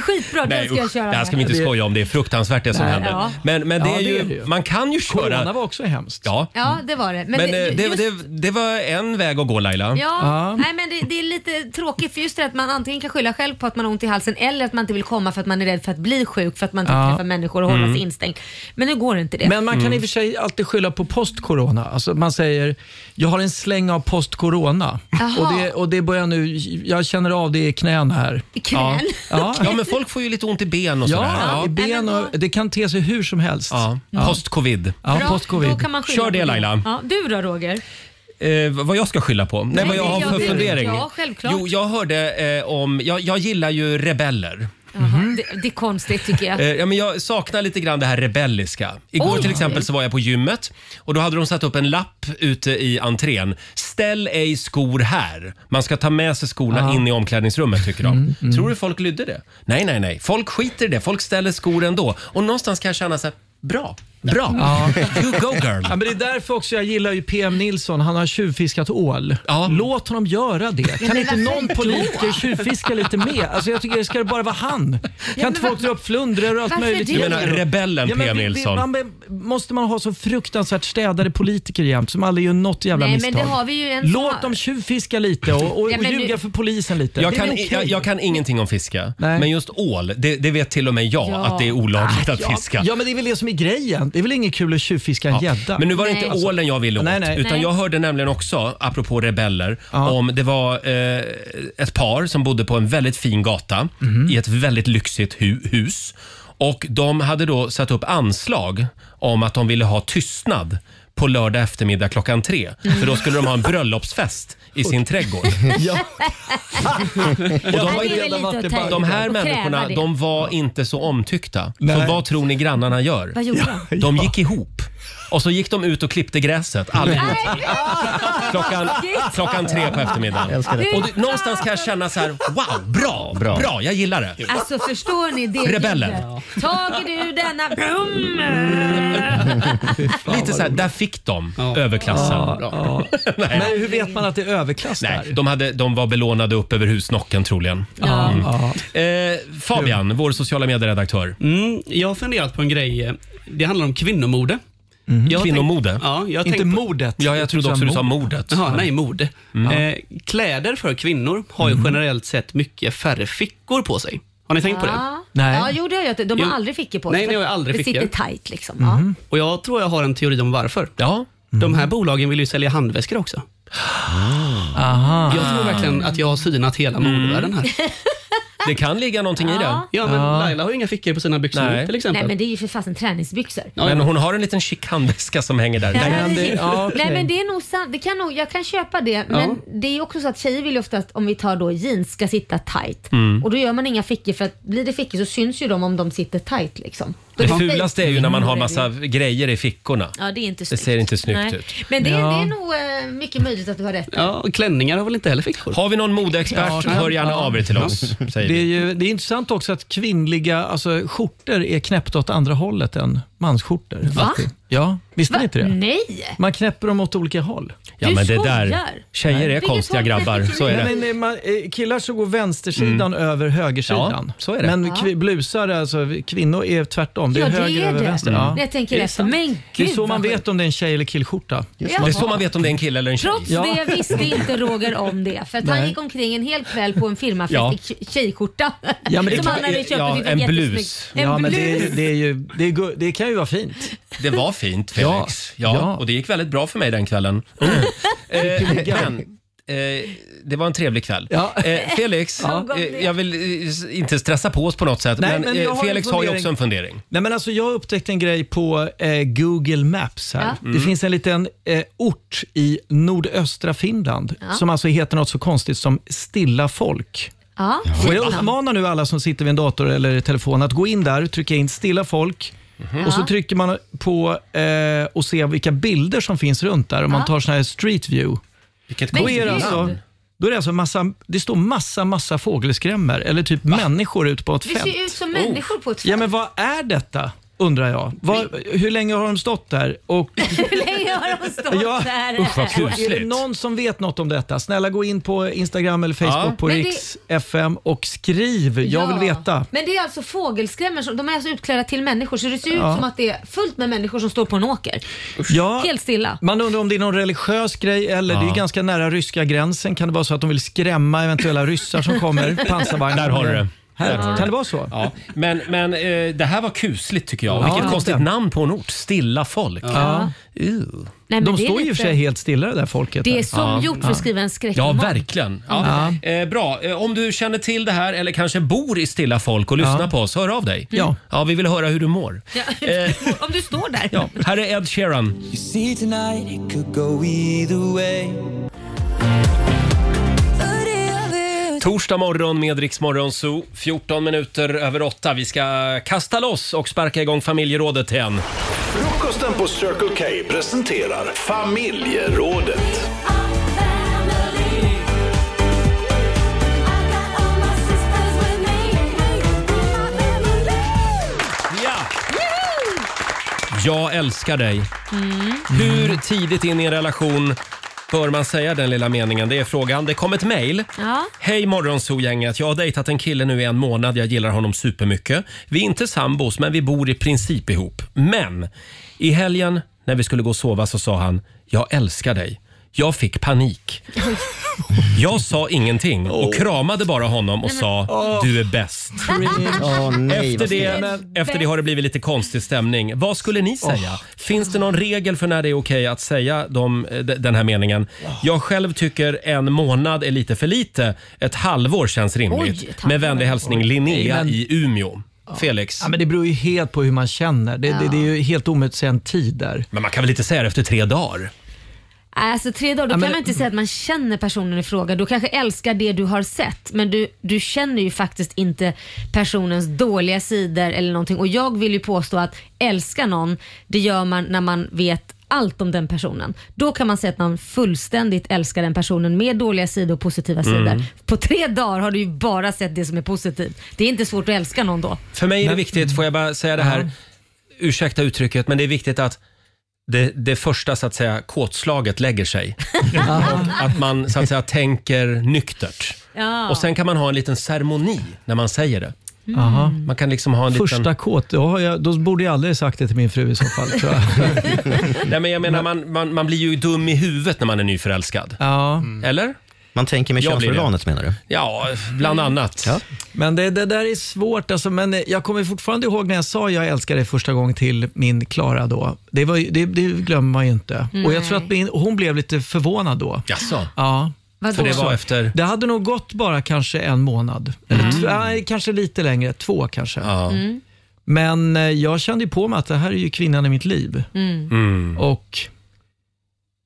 Skitbra, den Nej, ska jag usch, köra. det här ska vi inte skoja om. Det är fruktansvärt det som Nej. händer. Ja. Men, men det, Ja, är det ju, är det ju. Man kan ju köra... Corona var också hemskt. Ja. Ja, det var det. Men, eh, det, just- det, det var en väg att gå Laila. Ja, Nej, men det, det är lite tråkigt för just det att man antingen kan skylla själv på att man har ont i halsen eller att man inte vill komma för att man är rädd för att bli sjuk för att man inte Ja. träffar människor och hålla Mm. sig instängd. Men nu går inte det. Men man kan Mm. i och för sig alltid skylla på post-corona. Alltså man säger, jag har en släng av post-corona. Jaha. Och det, och det börjar nu, jag känner av det i knäna här. I knän? Ja. Ja, men folk får ju lite ont i ben och ja, sådär. Ja. I ben och, det kan te sig hur som helst. Ja. Post-covid. Ja, Bra, post-covid. Då kan man skylla Kör det, på Laila. Ja, du då Roger? Eh, vad jag ska skylla på? Nej, Nej, vad jag det- har ja, för det- fundering. ja, självklart. Jo, jag hörde eh, om... Jag, jag gillar ju rebeller. Det, det är konstigt tycker jag. Eh, Ja, men jag saknar lite grann det här rebelliska. Igår Oj. till exempel så var jag på gymmet och då hade de satt upp en lapp ute i entrén. Ställ ej skor här. Man ska ta med sig skorna Ja. in i omklädningsrummet tycker de. Mm, mm. Tror du folk lydde det? Nej, nej, nej. Folk skiter i det. Folk ställer skor ändå. Och någonstans kan jag känna så här, bra, bra. You go girl. Ja, men det är därför också jag gillar ju PM Nilsson. Han har tjuvfiskat ål. Låt honom göra det. men Kan inte alltså, varför någon då? politiker tjuvfiska lite mer? Alltså jag tycker det ska bara vara han. Kan men inte folk varför- dra upp flundror och allt varför möjligt? det? Du menar rebellen men PM vi- vi- Nilsson? Man, be- måste man ha så fruktansvärt städade politiker jämt som aldrig gör något jävla Nej, men misstag? det har vi ju en som har- Låt dem tjuvfiska lite och, och, Ja, och men nu- ljuga för polisen lite. Jag Det är kan, väl okej. jag, jag kan ingenting om fiska, men just ål, det, det vet till och med jag Ja. att det är olagligt Ah, att ja. fiska. Ja, men det är väl det som är grejen. Det är väl inget kul att tjuvfiska en gädda. Men nu var det inte ålen jag ville åt. Nej, nej. Utan Nej. jag hörde nämligen också, apropå rebeller, om det var eh, ett par som bodde på en väldigt fin gata Mhm. i ett väldigt lyxigt hu- hus. Och de hade då satt upp anslag om att de ville ha tystnad på lördag eftermiddag klockan tre. Mm. För då skulle de ha en bröllopsfest i sin trädgård. Ja. Och de, var Det är väl lite att ta inte, i. de här Och kräva människorna det. de var inte så omtyckta. Så Nej. vad tror ni grannarna gör? Vad gjorde Ja, de? gick ihop. Och så gick de ut och klippte gräset allihopa. Klockan, klockan tre på eftermiddagen. Jag älskar det. Och det, någonstans kan jag känna så här, wow, bra, bra, Bra. jag gillar det. Alltså förstår ni det Rebellen. ljudet? Tager du denna... Brum! Lite så här, där fick de överklassen. Ja, Nej. Men hur vet man att det är överklass där? Nej, de, hade, de var belånade upp över husnocken troligen. Mm. Ja. Ja. Eh, Fabian, vår sociala medieredaktör. Mm, jag har funderat på en grej. eh, Det handlar om kvinnomode. Jag har tänkt- Kvinnomode? Ja, jag har Inte tänkt på- mordet. Ja, jag trodde också du sa mordet. Jaha, nej, mode. Mm. Eh, kläder för kvinnor har ju generellt sett mycket färre fickor på sig. Har ni tänkt på det? Ja. Ja, jo det har jag. De har Jo. aldrig fickor på Nej, för ni har aldrig Det fickor. sitter tight liksom. Ja. Och jag tror jag har en teori om varför. Ja. De Mm. här bolagen vill ju sälja handväskor också. Aha. Ah. Mm. Jag tror verkligen att jag har synat hela modevärlden här. Det kan ligga någonting i Ja. det. Ja, men Laila har ju inga fickor på sina byxor Nej. Nej men det är ju för fasen träningsbyxor. Men hon har en liten chic handväska som hänger där. Nej, men det- Nej men det är nog sant. Det kan nog, jag kan köpa det. Men det är också så att tjejer vill ju oftast, om vi tar då jeans, ska sitta tight. Mm. Och då gör man inga fickor för att blir det fickor så syns ju de om de sitter tight liksom. Då Det är fulaste är ju när man har massa Ja grejer i fickorna. det är inte Det snyggt. ser inte snyggt Nej. ut. Men det, Ja. det är nog eh, mycket möjligt att du har rätt. Ja, klänningar har väl inte heller fickor? Har vi någon modeexpert, hör gärna av er till oss. Säger det, är vi. ju, det är intressant också att kvinnliga alltså, skjortor är knäppta åt andra hållet än mansskjortor. Va? Alltid. Ja, visste Va? Mm. ni inte det? Nej! Man knäpper dem åt olika håll. Ja, Du men det skojar. där- tjejer är Vilket konstiga håll knäpper grabbar, så är det. Mm. Nej, nej, man, eh, killar så går vänstersidan över högersidan. Ja, så är det. Men Ja. kvi- blusar, alltså kvinnor är tvärtom. Det är Ja, det höger är över det. vänster. Mm. Ja. Jag tänker Det är efter. sant. Men Det är gud, så vad man sjukt. vet om det är en tjej eller killskjorta. Just det. Det är så man vet om det är en kille eller en tjej. Trots det visste inte Roger om det. För att han Nej. gick omkring en hel kväll på en firmafest Ja. i k- tjejskjorta. Ja, men det som kan- han hade köpt ja, och tyckte en var jättesnygg. blus. En Ja, men blus. det är ju- det är ju, det, är gu- det kan ju vara fint. Det var fint Felix. Ja, ja. Och det gick väldigt bra för mig den kvällen. Eh, men, eh, det var en trevlig kväll. Eh, Felix, Ja. eh, jag vill eh, s- inte stressa på oss på något sätt, Nej, men, men eh, jag har en Felix har ju fundering. också en fundering. Nej, men alltså, jag upptäckte en grej på eh, Google Maps. här. Ja. Det Mm. finns en liten eh, ort i nordöstra Finland Ja. som alltså heter något så konstigt som Stilla folk. Ja, Och jag fint. uppmanar nu alla som sitter vid en dator eller telefon att gå in där, trycka in stilla folk och så Mhm. Ja. trycker man på eh, och ser vilka bilder som finns runt där. Om man Ja. tar sån här street view. Vilket då konstigt är det alltså, namn. då är det alltså massa, det står massa, massa fågelskrämmor eller typ människor ute på ett Vi fält. ser ut som människor på ett fält. Ja, men vad är detta? Undrar jag. Vad- hur länge har de stått där? Och Hur länge har de stått där? är det någon som vet något om detta? Snälla gå in på Instagram eller Facebook Ja. på Men det- Riks FM och skriv. Jag Ja. vill veta. Men det är alltså fågelskrämmor, som- de är alltså utklädda till människor så det ser ut Ja. som att det är fullt med människor som står på en åker. Ja, Helt stilla. man undrar om det är någon religiös grej eller Ja. det är ganska nära ryska gränsen. Kan det vara så att de vill skrämma eventuella ryssar som kommer? Pansarvagnar. Där har du det. Här, Där har du kan det vara så? Ja. Men, men eh, det här var kusligt tycker jag. Ja, Vilket lite. konstigt namn på en ort. Stilla folk. Ja. Ew. Nej, men de det är står ju lite- för sig helt stilla det där folket. Det är där. som gjort för att skriva en Ja, skräckroman. verkligen. Ja. Eh, bra. Eh, om du känner till det här eller kanske bor i Stilla folk och lyssnar på oss, hör av dig. Ja. ja, vi vill höra hur du mår. Ja, Om du står där. Ja. Här är Ed Sheeran. You see tonight it could go either way. Torsdag morgon med Rix Morgon Zoo. 14 minuter över 8. Vi ska kasta loss och sparka igång familjerådet igen. Frukosten på Circle K presenterar familjerådet. Ja. Jag älskar dig. Hur tidigt in i en relation bör man säga den lilla meningen? Det är frågan. Det kom ett mejl. Ja. Hej Morgonzoo-gänget. Jag har dejtat en kille nu i en månad. Jag gillar honom supermycket. Vi är inte sambos, men vi bor i princip ihop. Men i helgen när vi skulle gå och sova så sa han “Jag älskar dig”. Jag fick panik. Jag sa ingenting och kramade bara honom och sa “Du är bäst”. nej, efter, vad det, snällt. men- efter det har det blivit lite konstig stämning. Vad skulle ni säga? Finns det någon regel för när det är okej att säga de, eh, d- den här meningen? Jag själv tycker en månad är lite för lite. Ett halvår känns rimligt. Oj, tack. Med vänlig hälsning Linnea Nej, men- i Umeå. Felix. Ja, men det beror ju helt på hur man känner. Det, det, det är ju helt omöjligt att säga en tid där. Men man kan väl inte säga det efter tre dagar? Alltså tre dagar, då Ja, kan men- man inte säga att man känner personen i fråga. Du kanske älskar det du har sett men du, du känner ju faktiskt inte personens dåliga sidor eller någonting. Och jag vill ju påstå att älska någon, det gör man när man vet allt om den personen. Då kan man säga att man fullständigt älskar den personen med dåliga sidor och positiva Mm. sidor. På tre dagar har du ju bara sett det som är positivt. Det är inte svårt att älska någon då. För mig är det viktigt, får jag bara säga det här, ursäkta uttrycket, men det är viktigt att det, det första så att säga kåtslaget lägger sig. Och att man så att säga tänker nyktert. Ja. Och sen kan man ha en liten ceremoni när man säger det. Mm. Aha. Man kan liksom ha en liten... Första kåt, då, har jag, då borde jag aldrig sagt det till min fru i så fall. Tror jag. Nej, men jag menar, man, man, man blir ju dum i huvudet när man är nyförälskad. Ja. Eller? Man tänker med Jag blir det. könsorganet menar du? Ja, Mm. bland annat. Men det, det där är svårt. Alltså, men eh, jag kommer fortfarande ihåg när jag sa jag älskar dig första gången till min Klara. Då. Det, var, ju- det, det glömmer man ju inte. Och jag tror att min, hon blev lite förvånad då. Jaså? Ja. Vadå? För det var efter? Det hade nog gått bara kanske en månad. Eller t- nej, kanske lite längre. Två kanske. Mm. Men eh, jag kände ju på mig att det här är ju kvinnan i mitt liv. Mm. Och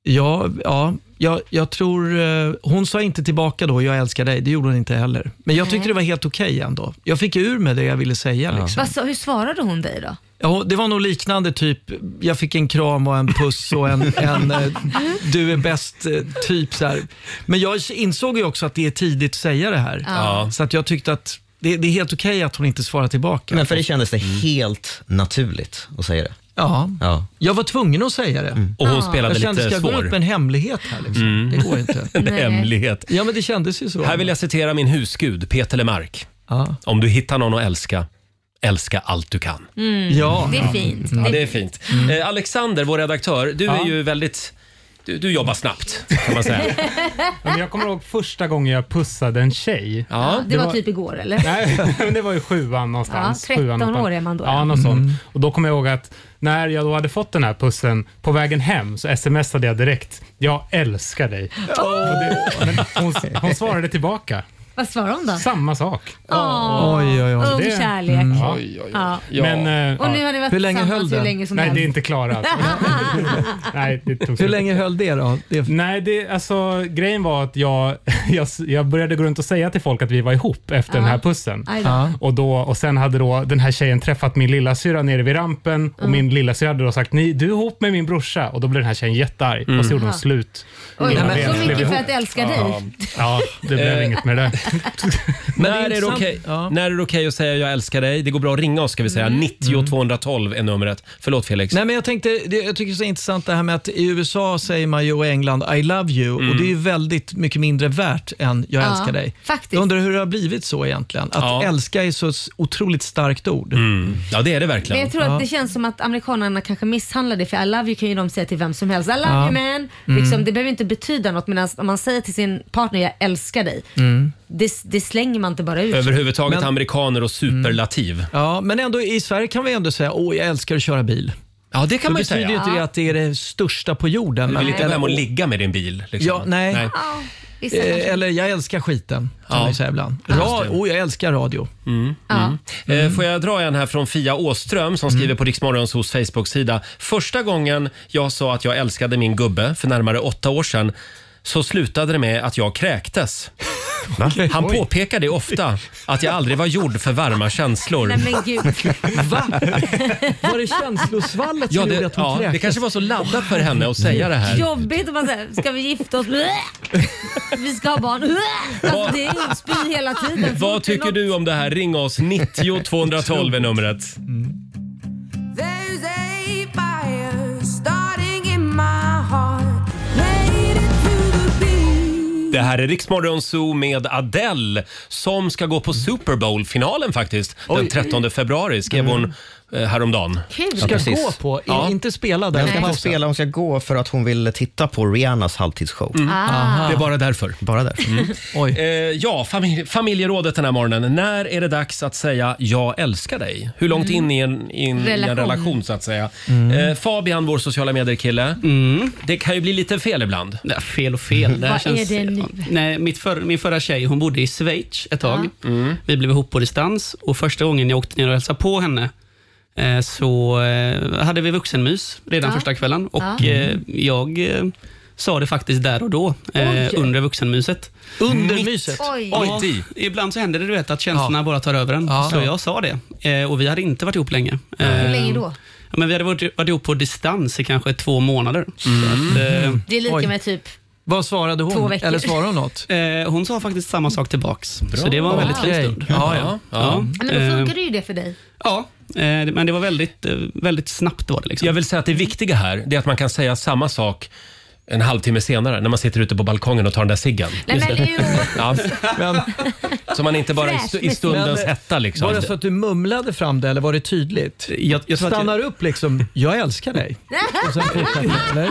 ja, ja jag, jag tror... eh, Hon sa inte tillbaka då, jag älskar dig. Det gjorde hon inte heller. Men jag tyckte det var helt okej ändå. Jag fick ur med det jag ville säga. Liksom. Vad sa- hur svarade hon dig då? Ja, det var nog liknande, typ jag fick en kram och en puss och en, en eh, du är bäst, eh, typ så här. Men jag insåg ju också att det är tidigt att säga det här. Ja. Så att jag tyckte att det, det är helt okej att hon inte svarar tillbaka. Men för det kändes det helt naturligt att säga det. Ja, Ja. jag var tvungen att säga det. Och hon spelade jag kände, lite ska jag svår?" gå ut med en hemlighet här liksom? Mm. Det går inte. en hemlighet. Ja, men det kändes ju så. Här vill jag citera min husgud Peter Lemark. Om du hittar någon att älska, älska allt du kan. Mm. Ja. Det är fint. Ja, det är fint. Eh, Alexander, vår redaktör, du Ja. är ju väldigt... Du, du jobbar snabbt, kan man säga. Men jag kommer ihåg första gången jag pussade en tjej. Ja, det var typ igår eller? Nej, men det var ju sjuan någonstans. Ja, 13 sjuan, åttan. år är man då, ja. Ja, något Mm. sånt. Och då kommer jag ihåg att när jag då hade fått den här pussen, på vägen hem så smsade jag direkt, jag älskar dig. Och det, men hon, hon svarade tillbaka. Vad svarade hon då? Samma sak. Åh, Oj, oj, oj. Ung Det- kärlek. Mm. Ja. Oj, Ja. Men, eh, och nu ja. har ni varit tillsammans hur länge som Nej, helst. det är inte Klara. alltså. Nej, det tog Hur länge höll det då? Det... Nej, det, alltså, grejen var att jag, jag, jag började gå runt och säga till folk att vi var ihop efter den här pussen. Aj då. Ja. Och, då, och sen hade då den här tjejen träffat min lillasyrra nere vid rampen och min lillasyrra hade då sagt Ni, du är ihop med min brorsa och då blev den här tjejen jättearg och så gjorde hon Aha. slut. Oj, Innan men vi så ens blev mycket för ihop. att älska Ja, dig. ja det blev Eh. inget med det där. När är, det okej, när är det okej att säga jag älskar dig? Det går bra att ringa oss ska vi säga. 90 212 är numret. Förlåt Felix. Nej, men jag, tänkte, det, jag tycker det är så intressant det här med att i USA säger man ju och England I love you och Mm. det är ju väldigt mycket mindre värt än jag Ja, älskar dig. faktiskt. Jag undrar hur det har blivit så egentligen. Att Ja. Mm. älska är så s- otroligt starkt ord. Ja, det är det verkligen. Men jag tror att Ja. det känns som att amerikanerna kanske misshandlar det för I love you kan ju de säga till vem som helst. I love Ja. you man. Mm. Liksom, det behöver inte betyda något medan om man säger till sin partner jag älskar dig. Det, det slänger man inte bara ut. Överhuvudtaget Men- amerikaner och superlativ. Ja, men ändå i Sverige kan vi ändå säga åh jag älskar att köra bil. Ja, det kan Då man ju typ- betyder säga. ju inte det Ja. att det är det största på jorden. Du vill inte men- gå hem och ligga med din bil. Liksom. Ja, nej. Vissa kanske- Eh, Eller jag älskar skiten, kan Ja. man ju säga ibland. Ja. Ra- oh, jag älskar radio. Mm. Eh, Får jag dra en här från Fia Åström som skriver på Riksmorgons hos Facebook-sida. Första gången jag sa att jag älskade min gubbe för närmare åtta år sedan så slutade det med att jag kräktes. Han påpekade ofta att jag aldrig var gjord för varma känslor. Nej men gud. Var det känslosvallet som Ja, gjorde det, att hon ja, det kräktes? kanske var så laddat för henne att säga det här. Jobbigt om man säger, ska vi gifta oss? Vi ska ha barn. Alltså, det är ju spy hela tiden. Vad tycker du om det här? Ring oss. 90 212 är numret. There's a fire starting in my heart. Made it through the beat. Det här är Riksmorgon Zoo med Adele som ska gå på Super Bowl-finalen faktiskt. Den 13 februari skrev hon eh, häromdagen. Kul. Ska precis. gå på, i- Ja. inte spela där. Hon ska inte Pausa. spela, hon ska gå för att hon vill titta på Rihannas halvtidsshow. Mm. Ah. Det är bara därför. Bara därför. Mm. Eh, ja, familj, familjerådet den här morgonen. När är det dags att säga “jag älskar dig”? Hur långt in i en, in I en Relation. Mm. relation så att säga. Eh, Fabian, vår sociala medier-kille. Det kan ju bli lite fel ibland. fel och fel. Det här Mm. Vad känns- är det nu? Nej, mitt för, min förra tjej hon bodde i Schweiz ett tag. Ja. Mm. Vi blev ihop på distans och första gången jag åkte ner och hälsade på henne eh, så eh, hade vi vuxenmys redan Ja. första kvällen och Ja. eh, Mm. jag eh, sa det faktiskt där och då eh, Oj. under vuxenmyset. Under Mitt- myset? Oj. Ja, Mitt i. ibland så händer det du vet, att känslorna bara tar över en. Ja. Så jag sa Eh, det eh, och vi hade inte varit ihop länge. Hur länge då? Ja, men vi hade varit, varit ihop på distans i kanske två månader. Så att, eh, Det är lika med typ Mm. Vad svarade Två hon? veckor. Eller svarade hon något? Eh, hon sa faktiskt samma sak tillbaks. Så det var en väldigt fin Okej. stund. Ja, ja. Ja. Ja, men Eh, då funkar det ju det för dig. Ja. Eh, Men det var väldigt, eh, väldigt snabbt var det. Liksom. Jag vill säga att det viktiga här det är att man kan säga samma sak en halvtimme senare när man sitter ute på balkongen och tar den där ciggen. Nej, men det är ju- Ja. Men- Så man inte bara i, stu- i stundens Men, hetta liksom. Var det så att du mumlade fram det eller var det tydligt? Jag, tror att Stannar upp liksom, jag älskar dig. Och sen fortsätter, eller?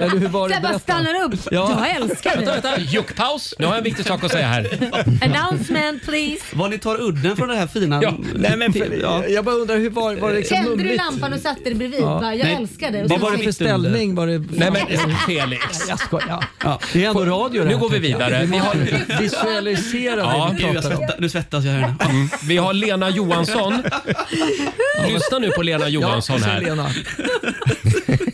eller hur Så var det? jag bara Berätta. stannar upp. Ja. Jag älskar Vänta, dig. vänta. Juckpaus. Nu har jag en viktig sak att säga här. Announcement please. Var ni tar udden från det här fina... Ja. Nej, men för, Ja. Jag bara undrar, hur var, var det liksom Tände du mumligt? lampan och satte dig bredvid? Ja. Bara, jag Nej, älskar dig. Och Vad sen var det fick- för ställning? Var det... Nej, men, Felix. Jag skojar. Det är ändå radio det Nu här, går vi tycker jag. vidare. Vi Vi har... har- Visualisera Ja, det vi pratar om. nu svettas jag här. Mm. Vi har Lena Johansson. Lyssna nu på Lena Johansson Ja, här. Lena.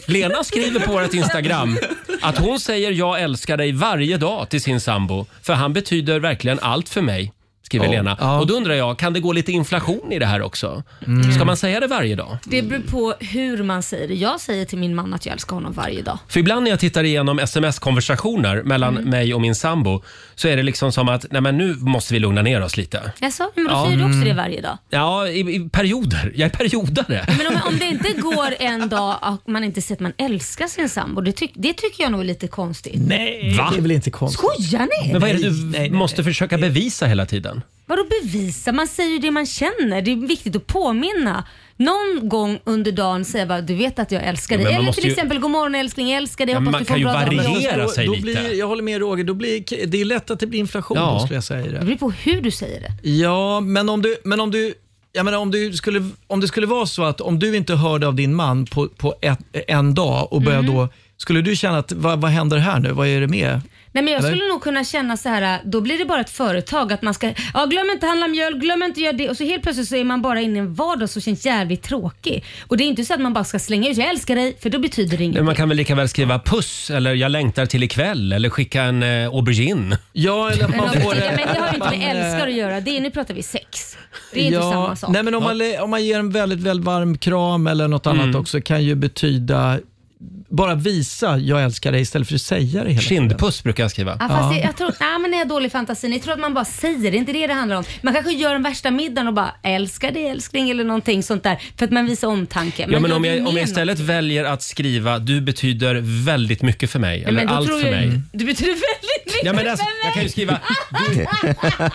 Lena skriver på vårt Instagram att hon säger jag älskar dig varje dag till sin sambo. För han betyder verkligen allt för mig. Skriver Ja. Lena. Och då undrar jag, kan det gå lite inflation i det här också? Mm. Ska man säga det varje dag? Det beror på hur man säger det. Jag säger till min man att jag älskar honom varje dag. För ibland när jag tittar igenom sms-konversationer mellan mig och min sambo så är det liksom som att, nej men nu måste vi lugna ner oss lite. Jaså, men då Ja. säger du också Mm. det varje dag? Ja, i, i perioder. Jag är periodare. Men om, om det inte går en dag att man inte säger att man älskar sin sambo, det, tyck- det tycker jag nog är lite konstigt. Nej, Va? Det är väl inte konstigt? Skojar ni? Men vad är det du måste försöka bevisa hela tiden? Vadå bevisa? Man säger ju det man känner. Det är viktigt att påminna. Någon gång under dagen säga bara du vet att jag Ja, älskar dig. men man Eller måste till ju- exempel god morgon älskling, jag älskar dig. Ja, Jag men hoppas man du får en kan bra ju dag. variera. Då- sig då lite. Blir, jag håller med Roger, då blir, det är lätt att det blir inflation Ja. då, skulle jag säga. Det Det. beror på hur du säger det. Ja, men om du, men om du jag menar, om, du skulle, om det skulle vara så att om du inte hörde av din man på, på ett, en dag och började Mm. då, skulle du känna att vad, vad händer här nu? Vad är det med? Nej, men jag Eller? skulle nog kunna känna så här, då blir det bara ett företag att man ska, ja glöm inte handla mjöl, glöm inte göra det och så helt plötsligt så är man bara inne i en vardag som känns jävligt tråkig. Och det är inte så att man bara ska slänga ut, jag älskar dig, för då betyder det Men inget. Man kan väl lika väl skriva puss eller jag längtar till ikväll eller skicka en eh, aubergine. Ja, eller att Men, man om får du tycker, det. men det har ju inte man, med älskar att eh, göra, det är, nu pratar vi sex. Det är inte samma sak. Nej, men om, man, le- om man ger en väldigt, väldigt varm kram eller något Mm. annat också kan ju betyda bara visa jag älskar dig istället för att säga det hela Kindpuss brukar jag skriva. Ja, fast det- jag tror, nej men det är dålig fantasi. Ni tror att man bara säger det, det är inte det det handlar om. Man kanske gör den värsta middagen och bara älskar dig älskling eller någonting sånt där för att man visar omtanke. Ja, men gör om det jag, om med jag istället väljer att skriva du betyder väldigt mycket för mig någon- eller allt för jag, mig. Du betyder väldigt mycket Ja, men alltså, för mig. jag kan ju skriva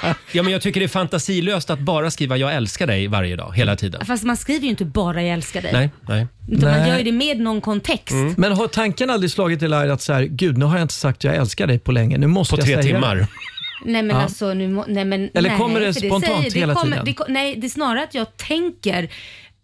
du. Ja, men jag tycker det är fantasilöst att bara skriva jag älskar dig varje dag, hela tiden. Fast man skriver ju inte bara jag älskar dig. Nej, nej. Mm. Utan man Nej. gör ju det med någon kontext. Men har tanken aldrig slagit i Laila att så här, gud nu har jag inte sagt jag älskar dig på länge, nu måste På jag tre säga timmar. det. Nej men Ja. alltså nu må, nej, men, Eller nej, kommer det för spontant säger, det hela kommer, tiden? Det, ko- nej, det är snarare att jag tänker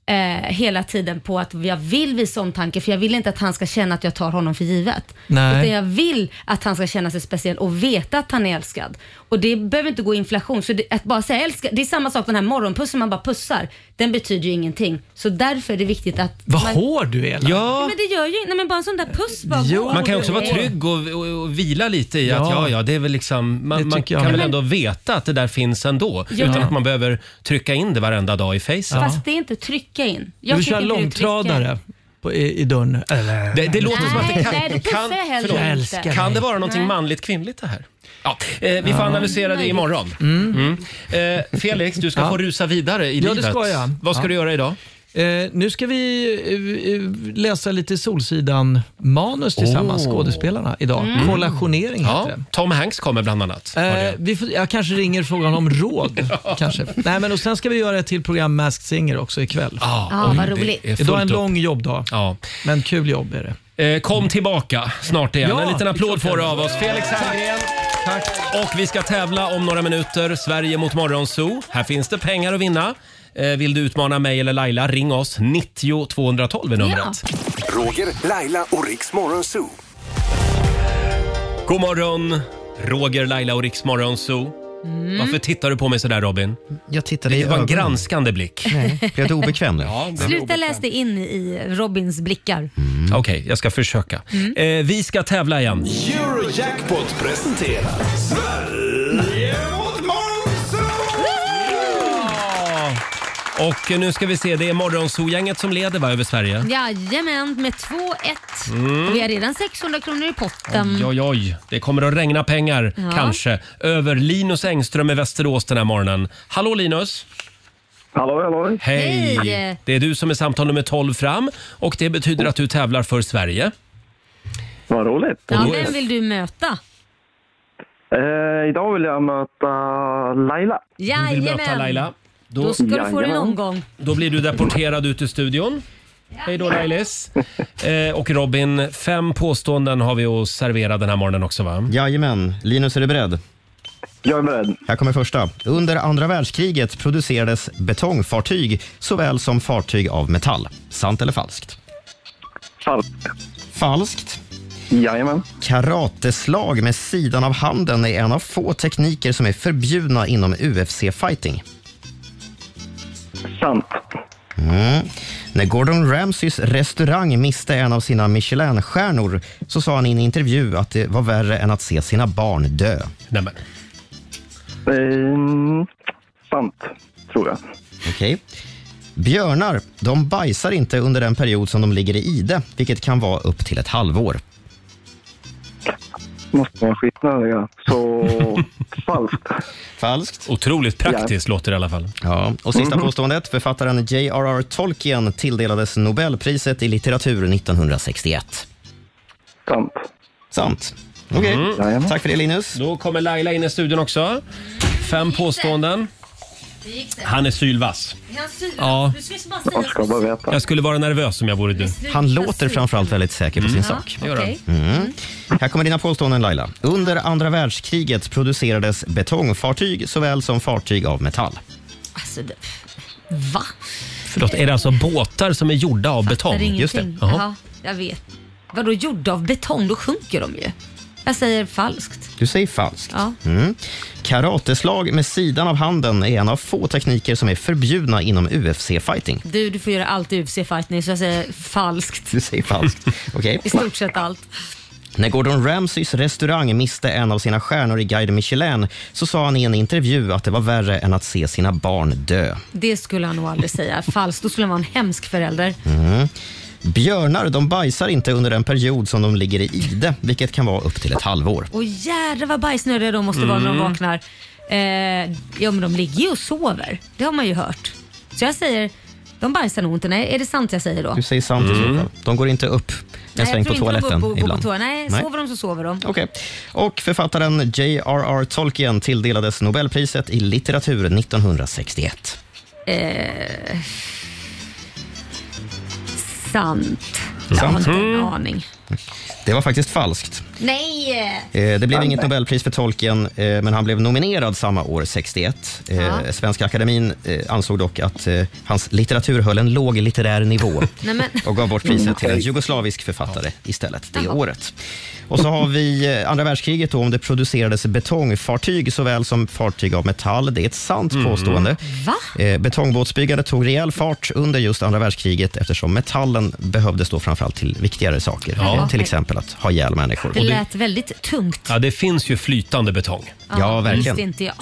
eh, hela tiden på att jag vill visa omtanke för jag vill inte att han ska känna att jag tar honom för givet. Nej. Utan jag vill att han ska känna sig speciell och veta att han är älskad. Och det behöver inte gå i inflation. Så det, att bara säga älskad, det är samma sak den här morgonpussen man bara pussar. Den betyder ju ingenting. Så därför är det viktigt att... Vad man, hård du är. Laila. Ja. Men det gör ju Nej men bara en sån där puss bara Jo, går. man kan ju också vara Nej. trygg och, och, och vila lite i att Ja. ja, ja, det är väl liksom, man, man tycker kan jag väl med. ändå veta att det där finns ändå Ja. utan att man behöver trycka in det varenda dag i facet. Fast det är inte trycka in. Jag du tycker kör inte det är trycka in. långtradare på, i, i dörren. Eller- Det, det låter som att det Nej, kan... nej, det pussar kan, jag hellre förlåt. inte. Jag älskar kan det dig. vara någonting Nej. manligt kvinnligt det här? Ja, eh, vi får Ja. analysera det Möjligt. imorgon. Mm. Eh, Felix, du ska Ja. få rusa vidare i Ja, det livet. ska jag. Vad ska Ja. du göra idag? Eh, nu ska vi eh, eh, läsa lite Solsidan-manus tillsammans, Åh. skådespelarna, idag. Mm. Kollationering heter Ja, det. Tom Hanks kommer bland annat. Eh, vi får, jag kanske ringer frågan om råd. kanske. Nej, men och sen ska vi göra ett till program Masked Singer också ikväll. Ja, Ja, oj, vad det roligt. är fullt Idag är en upp. lång jobbdag, Ja. men kul jobb är det. Eh, kom tillbaka snart igen. Ja, en liten applåd det får är klart. du av oss. Felix Herngren. Tack. Och vi ska tävla om några minuter. Sverige mot Morgonzoo. Här finns det pengar att vinna. Eh, vill du utmana mig eller Laila, ring oss. 90 212 är numret. Roger, Laila och Riks Morgonzoo. God morgon, Roger, Laila och Riks Morgonzoo. Varför tittar du på mig sådär Robin? Jag tittade i Det var en ögonen. granskande blick. Nej, blev jag obekväm nu? Ja, det- Sluta läs det in i Robins blickar. Okej, jag ska försöka. Eh, vi ska tävla igen. Eurojackpot presenterar Sverige mot Och eh, nu ska vi se, det är Morgonzoo-gänget som leder va, över Sverige? Jajamän, med 2-1. Mm. Och Vi har redan 600 kronor i potten. Oj, oj, oj. Det kommer att regna pengar, Mm. Ja. kanske, över Linus Engström i Västerås den här morgonen. Hallå Linus! Hallå, hallå. Hej! Hej. Det är du som är samtal nummer 12 fram och det betyder att du tävlar för Sverige. Vad roligt. Ja, vem vill du möta? Eh, idag vill jag möta Laila. Du vill Jajamän. möta Laila. Då, ska du få din omgång. Då blir du deporterad ut ur studion. Hej då Lailis. Eh, och Robin, fem påståenden har vi att servera den här morgonen också va? Jajamän. Linus, är du beredd? Jag är beredd. Här kommer första. Under andra världskriget producerades betongfartyg såväl som fartyg av metall. Sant eller falskt? Falskt. Falskt. Jajamän. Karateslag med sidan av handen är en av få tekniker som är förbjudna inom UFC-fighting. Sant. Mm. När Gordon Ramsays restaurang miste en av sina Michelin-stjärnor så sa han i en intervju att det var värre än att se sina barn dö. Nämen. Ehm, sant, tror jag. Okej. Björnar de bajsar inte under den period som de ligger i ide, vilket kan vara upp till ett halvår. Måste vara skitnödiga. Så falskt. Falskt. Otroligt praktiskt låter det i alla fall. Ja, och sista Mhm. påståendet. Författaren J.R.R. Tolkien tilldelades Nobelpriset i litteratur 1961. Sant. Sant. Okej, tack för det Linus. Då kommer Laila in i studion också. Fem påståenden. Han är sylvass. Ja. Jag skulle vara nervös om jag vore du. Han låter framförallt väldigt säker på Mm. sin Ja, sak. det gör han. okej. Mm. Här kommer dina påståenden Laila. Under andra världskriget producerades betongfartyg såväl som fartyg av metall. Alltså, det, va? Förlåt, är det alltså båtar som är gjorda av betong? Fattar Just det. ingenting. Jaha. Jaha, jag vet. Vadå gjorda av betong? Då sjunker de ju. Jag säger falskt. Du säger falskt. Ja. Mm. Karateslag med sidan av handen är en av få tekniker som är förbjudna inom UFC-fighting. Du, du får göra allt i UFC-fighting så jag säger falskt. Du säger falskt. Okej. I stort sett allt. När Gordon Ramsays restaurang miste en av sina stjärnor i Guide Michelin så sa han i en intervju att det var värre än att se sina barn dö. Det skulle han nog aldrig säga. Falskt. Då skulle han vara en hemsk förälder. Mm. Björnar de bajsar inte under den period som de ligger i ide, vilket kan vara upp till ett halvår. Och jädrar vad bajsnödiga de måste vara när de Mm. vaknar. Eh, ja men de ligger ju och sover. Det har man ju hört. Så jag säger, de bajsar nog inte. Nej, är det sant jag säger då? Du säger sant i så Mm. fall. De går inte upp en Nej, sväng jag tror inte på de går toaletten upp och går ibland. På toa. Nej, sover de så sover de. Okej. Och författaren J.R.R. Tolkien tilldelades Nobelpriset i litteratur 1961. Eh, sant. Jag har Sant. inte en Mm. aning. Det var faktiskt falskt. Nej! Eh, Det blev inget Nobelpris för Tolkien, eh, men han blev nominerad samma år, 61. Eh, Ja. Svenska Akademin eh, ansåg dock att eh, hans litteratur höll en låg litterär nivå Nej, men- och gav bort priset till en Mm. jugoslavisk författare istället det Jaha. året. Och så har vi eh, andra världskriget då, om det producerades betongfartyg såväl som fartyg av metall. Det är ett sant påstående. Va? Eh, Betongbåtsbyggandet tog rejäl fart under just andra världskriget eftersom metallen behövdes då framförallt till viktigare saker. Ja. Eh, Till exempel att ha ihjäl människor. Det Och det- lät väldigt tungt. Ja, det finns ju flytande betong. Ja, verkligen. Visste inte jag.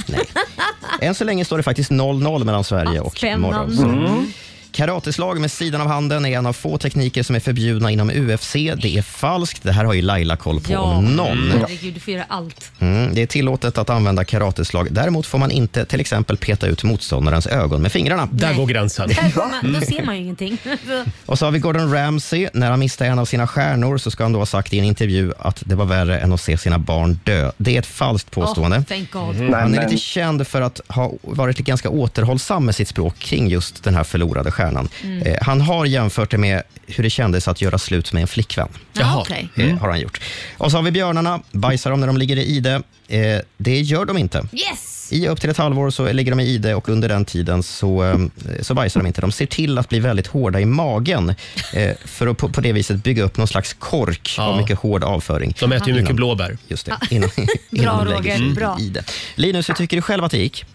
Än så länge står det faktiskt 0-0 mellan Sverige och spännande. Marocko. Så- Mm. Karateslag med sidan av handen är en av få tekniker som är förbjudna inom UFC. Det är falskt. Det här har ju Laila koll på Ja, om någon. herregud, du får göra allt. Mm, det är tillåtet att använda karateslag. Däremot får man inte till exempel peta ut motståndarens ögon med fingrarna. Där går gränsen. Där går man, då ser man ju ingenting. Så- Och så har vi Gordon Ramsay. När han miste en av sina stjärnor så ska han då ha sagt i en intervju att det var värre än att se sina barn dö. Det är ett falskt påstående. Oh, thank God. Mm. Han är Men- lite känd för att ha varit ganska återhållsam med sitt språk kring just den här förlorade stjärnan. Mm. Eh, Han har jämfört det med hur det kändes att göra slut med en flickvän. Jaha. okej. Eh, Har han gjort. Och så har vi björnarna. Bajsar de när de ligger i ide? Eh, Det gör de inte. Yes! I upp till ett halvår så ligger de i ide och under den tiden så, eh, så bajsar de inte. De ser till att bli väldigt hårda i magen eh, för att på, på det viset bygga upp någon slags kork av mycket hård avföring. De äter ju mycket blåbär. Just det, innan, innan de lägger sig i det. Linus, hur tycker du själv att det gick?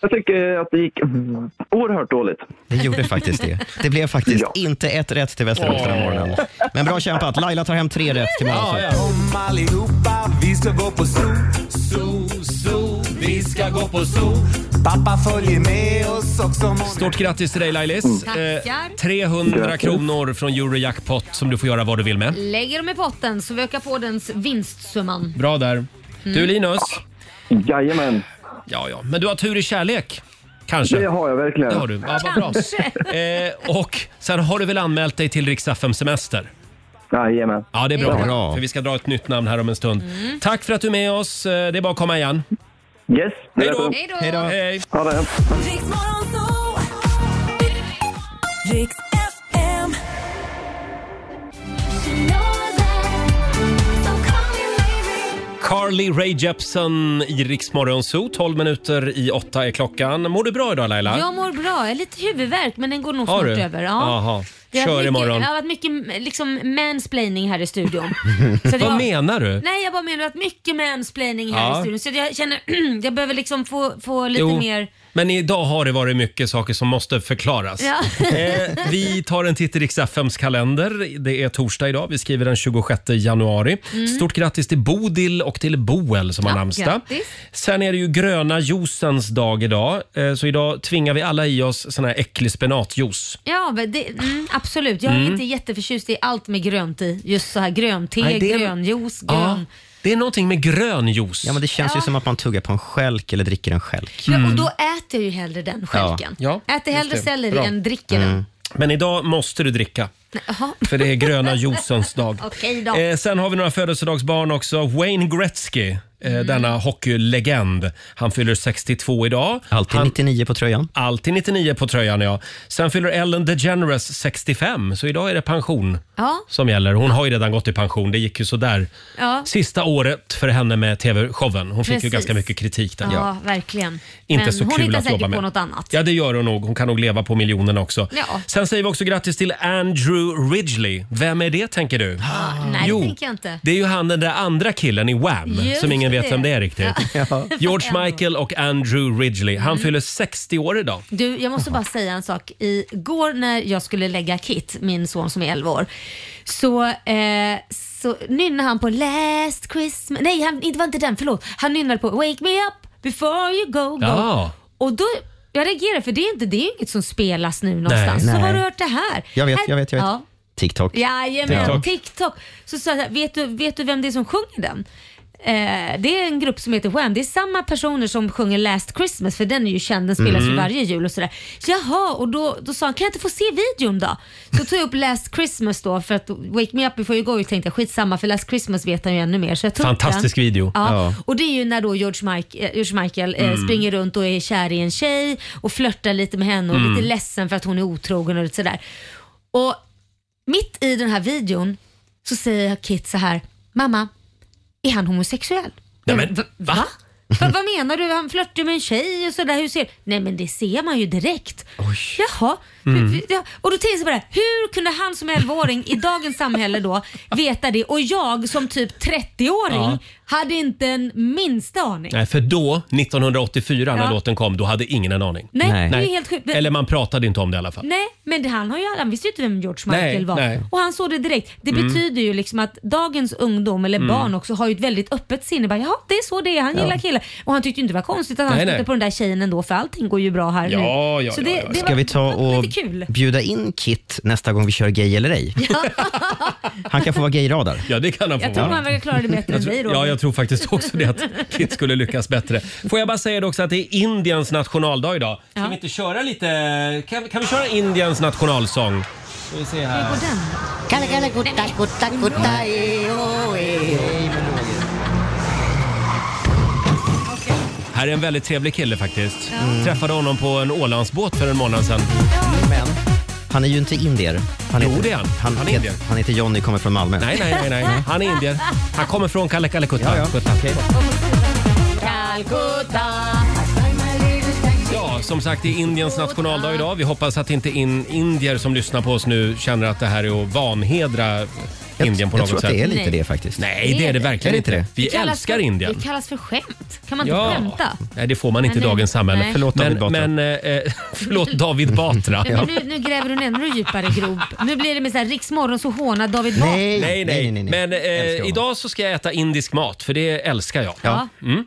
Jag tycker att det gick oerhört dåligt. Det gjorde faktiskt det. Det blev faktiskt inte ett rätt till Västerås den här morgonen. Men bra kämpat. Laila tar hem tre rätt till morgonen. Kom allihopa, vi ska gå på zoo, zoo, zoo. Vi ska gå på zoo. Pappa följer med oss också. Stort grattis till dig Lailis. Mm. Tackar. 300 Grattis. kronor från Eurojackpot som du får göra vad du vill med. Lägger dem i potten så vi ökar på den vinstsumman. Bra där. Du Mm. Linus? Jajamän. Ja, ja. Men du har tur i kärlek. Kanske. Det har jag verkligen. Det har du. Ja, vad bra. Eh, och sen har du väl anmält dig till Rix FM Semester? Jajamän. Ja, det är bra. Ja. Bra. För vi ska dra ett nytt namn här om en stund. Tack för att du är med oss. Eh, Det är bara att komma igen. Yes. Hej då. Hej då. Hej då. Hej. Ha det. Riks FM. Carly Rae Jepsen i Rix Morgon Zoo. 12 minuter i åtta är klockan. Mår du bra idag Laila? Jag mår bra. Jag är lite huvudvärk men den går nog Har snart du? över. Ja. Jaha. Det har Kör varit mycket, imorgon. Det har varit mycket liksom, mansplaining här i studion. Så det Vad var- menar du? Nej, jag bara menar att mycket mansplaining här Ja. i studion. Så jag känner, jag behöver liksom få, få lite Jo, mer... Men idag har det varit mycket saker som måste förklaras. Ja. Eh, vi tar en titt i riks kalender. Det är torsdag idag. Vi skriver den 26 januari. Mm. Stort grattis till Bodil och till Boel som har Ja, namnsdag. grattis. Sen är det ju gröna juicens dag idag. Eh, så idag tvingar vi alla i oss sån här äcklig spenatjuice. Ja, men det, mm, absolut. Jag är Mm. inte jätteförtjust i allt med grönt i. Just så här grönte, Nej, det är- grönjuice, Ja. grön... Det är någonting med grön juice. Ja, men det känns ju som att man tuggar på en skälk eller dricker en skälk. Ja, och då äter jag ju hellre den skälken. Mm. Ja. Ja, äter hellre just det. selleri Bra. Mm. än dricker den. Men idag måste du dricka. För det är gröna juicens dag. Okej då. Eh, sen har vi några födelsedagsbarn också. Wayne Gretzky, eh, Mm. denna hockeylegend. Han fyller 62 idag. Alltid 99 på tröjan. Alltid 99 på tröjan, ja. Sen fyller Ellen DeGeneres 65, så idag är det pension Ja. som gäller. Hon har ju redan gått i pension, det gick ju sådär. Ja. Sista året för henne med TV-showen. Hon fick ju Precis. ganska mycket kritik där. Ja, verkligen. Inte Men så hon kul hittar att säkert jobba med. på något annat. Ja, det gör hon nog. Hon kan nog leva på miljonerna också. Ja. Sen säger vi också grattis till Andrew Ridgley. Vem är det tänker du? Ah, Nej, jo, det tänker jag inte. det är ju han den där andra killen i Wham Just som ingen vet det. vem det är riktigt. George Michael och Andrew Ridgley. Mm. Han fyller 60 år idag. Du, jag måste bara säga en sak. Igår när jag skulle lägga Kit, min son som är 11 år, så, eh, så nynnade han på Last Christmas. Nej, han, det var inte den, förlåt. Han nynnade på Wake Me Up Before You Go Go. Ja. Och då, jag reagerade för det är, inte, det är inget som spelas nu någonstans. Så Nej. var har du hört det här? Jag vet, Här- jag vet, jag vet. Ja. TikTok. Jajamän, TikTok. TikTok. Så sa jag så här, vet du, vet du vem det är som sjunger den? Eh, det är en grupp som heter Wham. Det är samma personer som sjunger Last Christmas för den är ju känd, den spelas ju Mm. varje jul och sådär. Jaha, och då, då sa han, kan jag inte få se videon då? Så tog jag upp Last Christmas då för att Wake Me Up Before You Go och tänkte jag, skitsamma för Last Christmas vet han ju ännu mer. Så jag tog upp Fantastisk den. video. Ja. Ja. Och det är ju när då George, Mike, eh, George Michael eh, Mm. springer runt och är kär i en tjej och flörtar lite med henne och är Mm. lite ledsen för att hon är otrogen och lite sådär. Och mitt i den här videon så säger Kit så här, mamma, är han homosexuell? Nej, men, va? Va, vad menar du? Han flörtar med en tjej och sådär. Hur ser... Nej men det ser man ju direkt. Oj. Jaha. Mm. Hur- ja, Och då tänker jag på det här. Hur kunde han som 11-åring i dagens samhälle då veta det och jag som typ 30-åring Ja. hade inte en minsta aning. Nej, för då, 1984 när Ja. låten kom, då hade ingen en aning. Nej, Nej. det är helt sjukt. Eller man pratade inte om det i alla fall. Nej, men det, han, har ju, han visste ju inte vem George Michael Nej, var. nej. Och han såg det direkt. Det Mm. betyder ju liksom att dagens ungdom, eller Mm. barn också, har ju ett väldigt öppet sinne. Bara, ja, det är så det är. Han Ja. gillar killar. Och han tyckte ju inte det var konstigt att han Nej, stötte nej. på den där tjejen ändå, för allting går ju bra här nu. så det, det Ska var vi ta och lite kul. bjuda in Kit nästa gång vi kör Gay eller ej? Han kan få vara gayradar. Ja, det kan han få Jag tror vara. man verkar klara det bättre än dig då. Ja, jag tror faktiskt också det att Kit skulle lyckas bättre. Får jag bara säga det också att det är Indiens nationaldag idag. Ska Ja. vi inte köra lite... Kan, vi- kan vi köra Indiens nationalsång? Ska vi se här. Kalla kalla gutta gutta gutta eh, oh, eh, oh. Här är en väldigt trevlig kille faktiskt. Mm. Träffade honom på en Ålandsbåt för en månad sedan. Men han är ju inte indier. Han Jo, det är han. Han, Han är het- indier. han heter Johnny kommer från Malmö. Nej, nej, nej, nej. Han är indier. Han kommer från Kalekalekutta. Ja, ja. Kutta. Calcutta. Ja, som sagt, det är Indiens nationaldag idag. Vi hoppas att inte in indier som lyssnar på oss nu känner att det här är att vanhedra Indien på jag något tror att sätt. det är lite Nej. det faktiskt. Nej, det är det verkligen Är det inte. inte det? Vi kallas älskar för, Indien. Det kallas för skämt. Kan man Ja. inte skämta? Nej, det får man inte i Nej, nej. dagens samhälle. Nej. Förlåt, men, David Batra. Men, eh, förlåt David Batra. Men nu, nu gräver du en ännu djupare grop. Nu blir det med så här, Riksmorgon så hånar David Batra. Nej, nej, nej. Men eh, idag så ska jag äta indisk mat, för det älskar jag. Ja. Mm.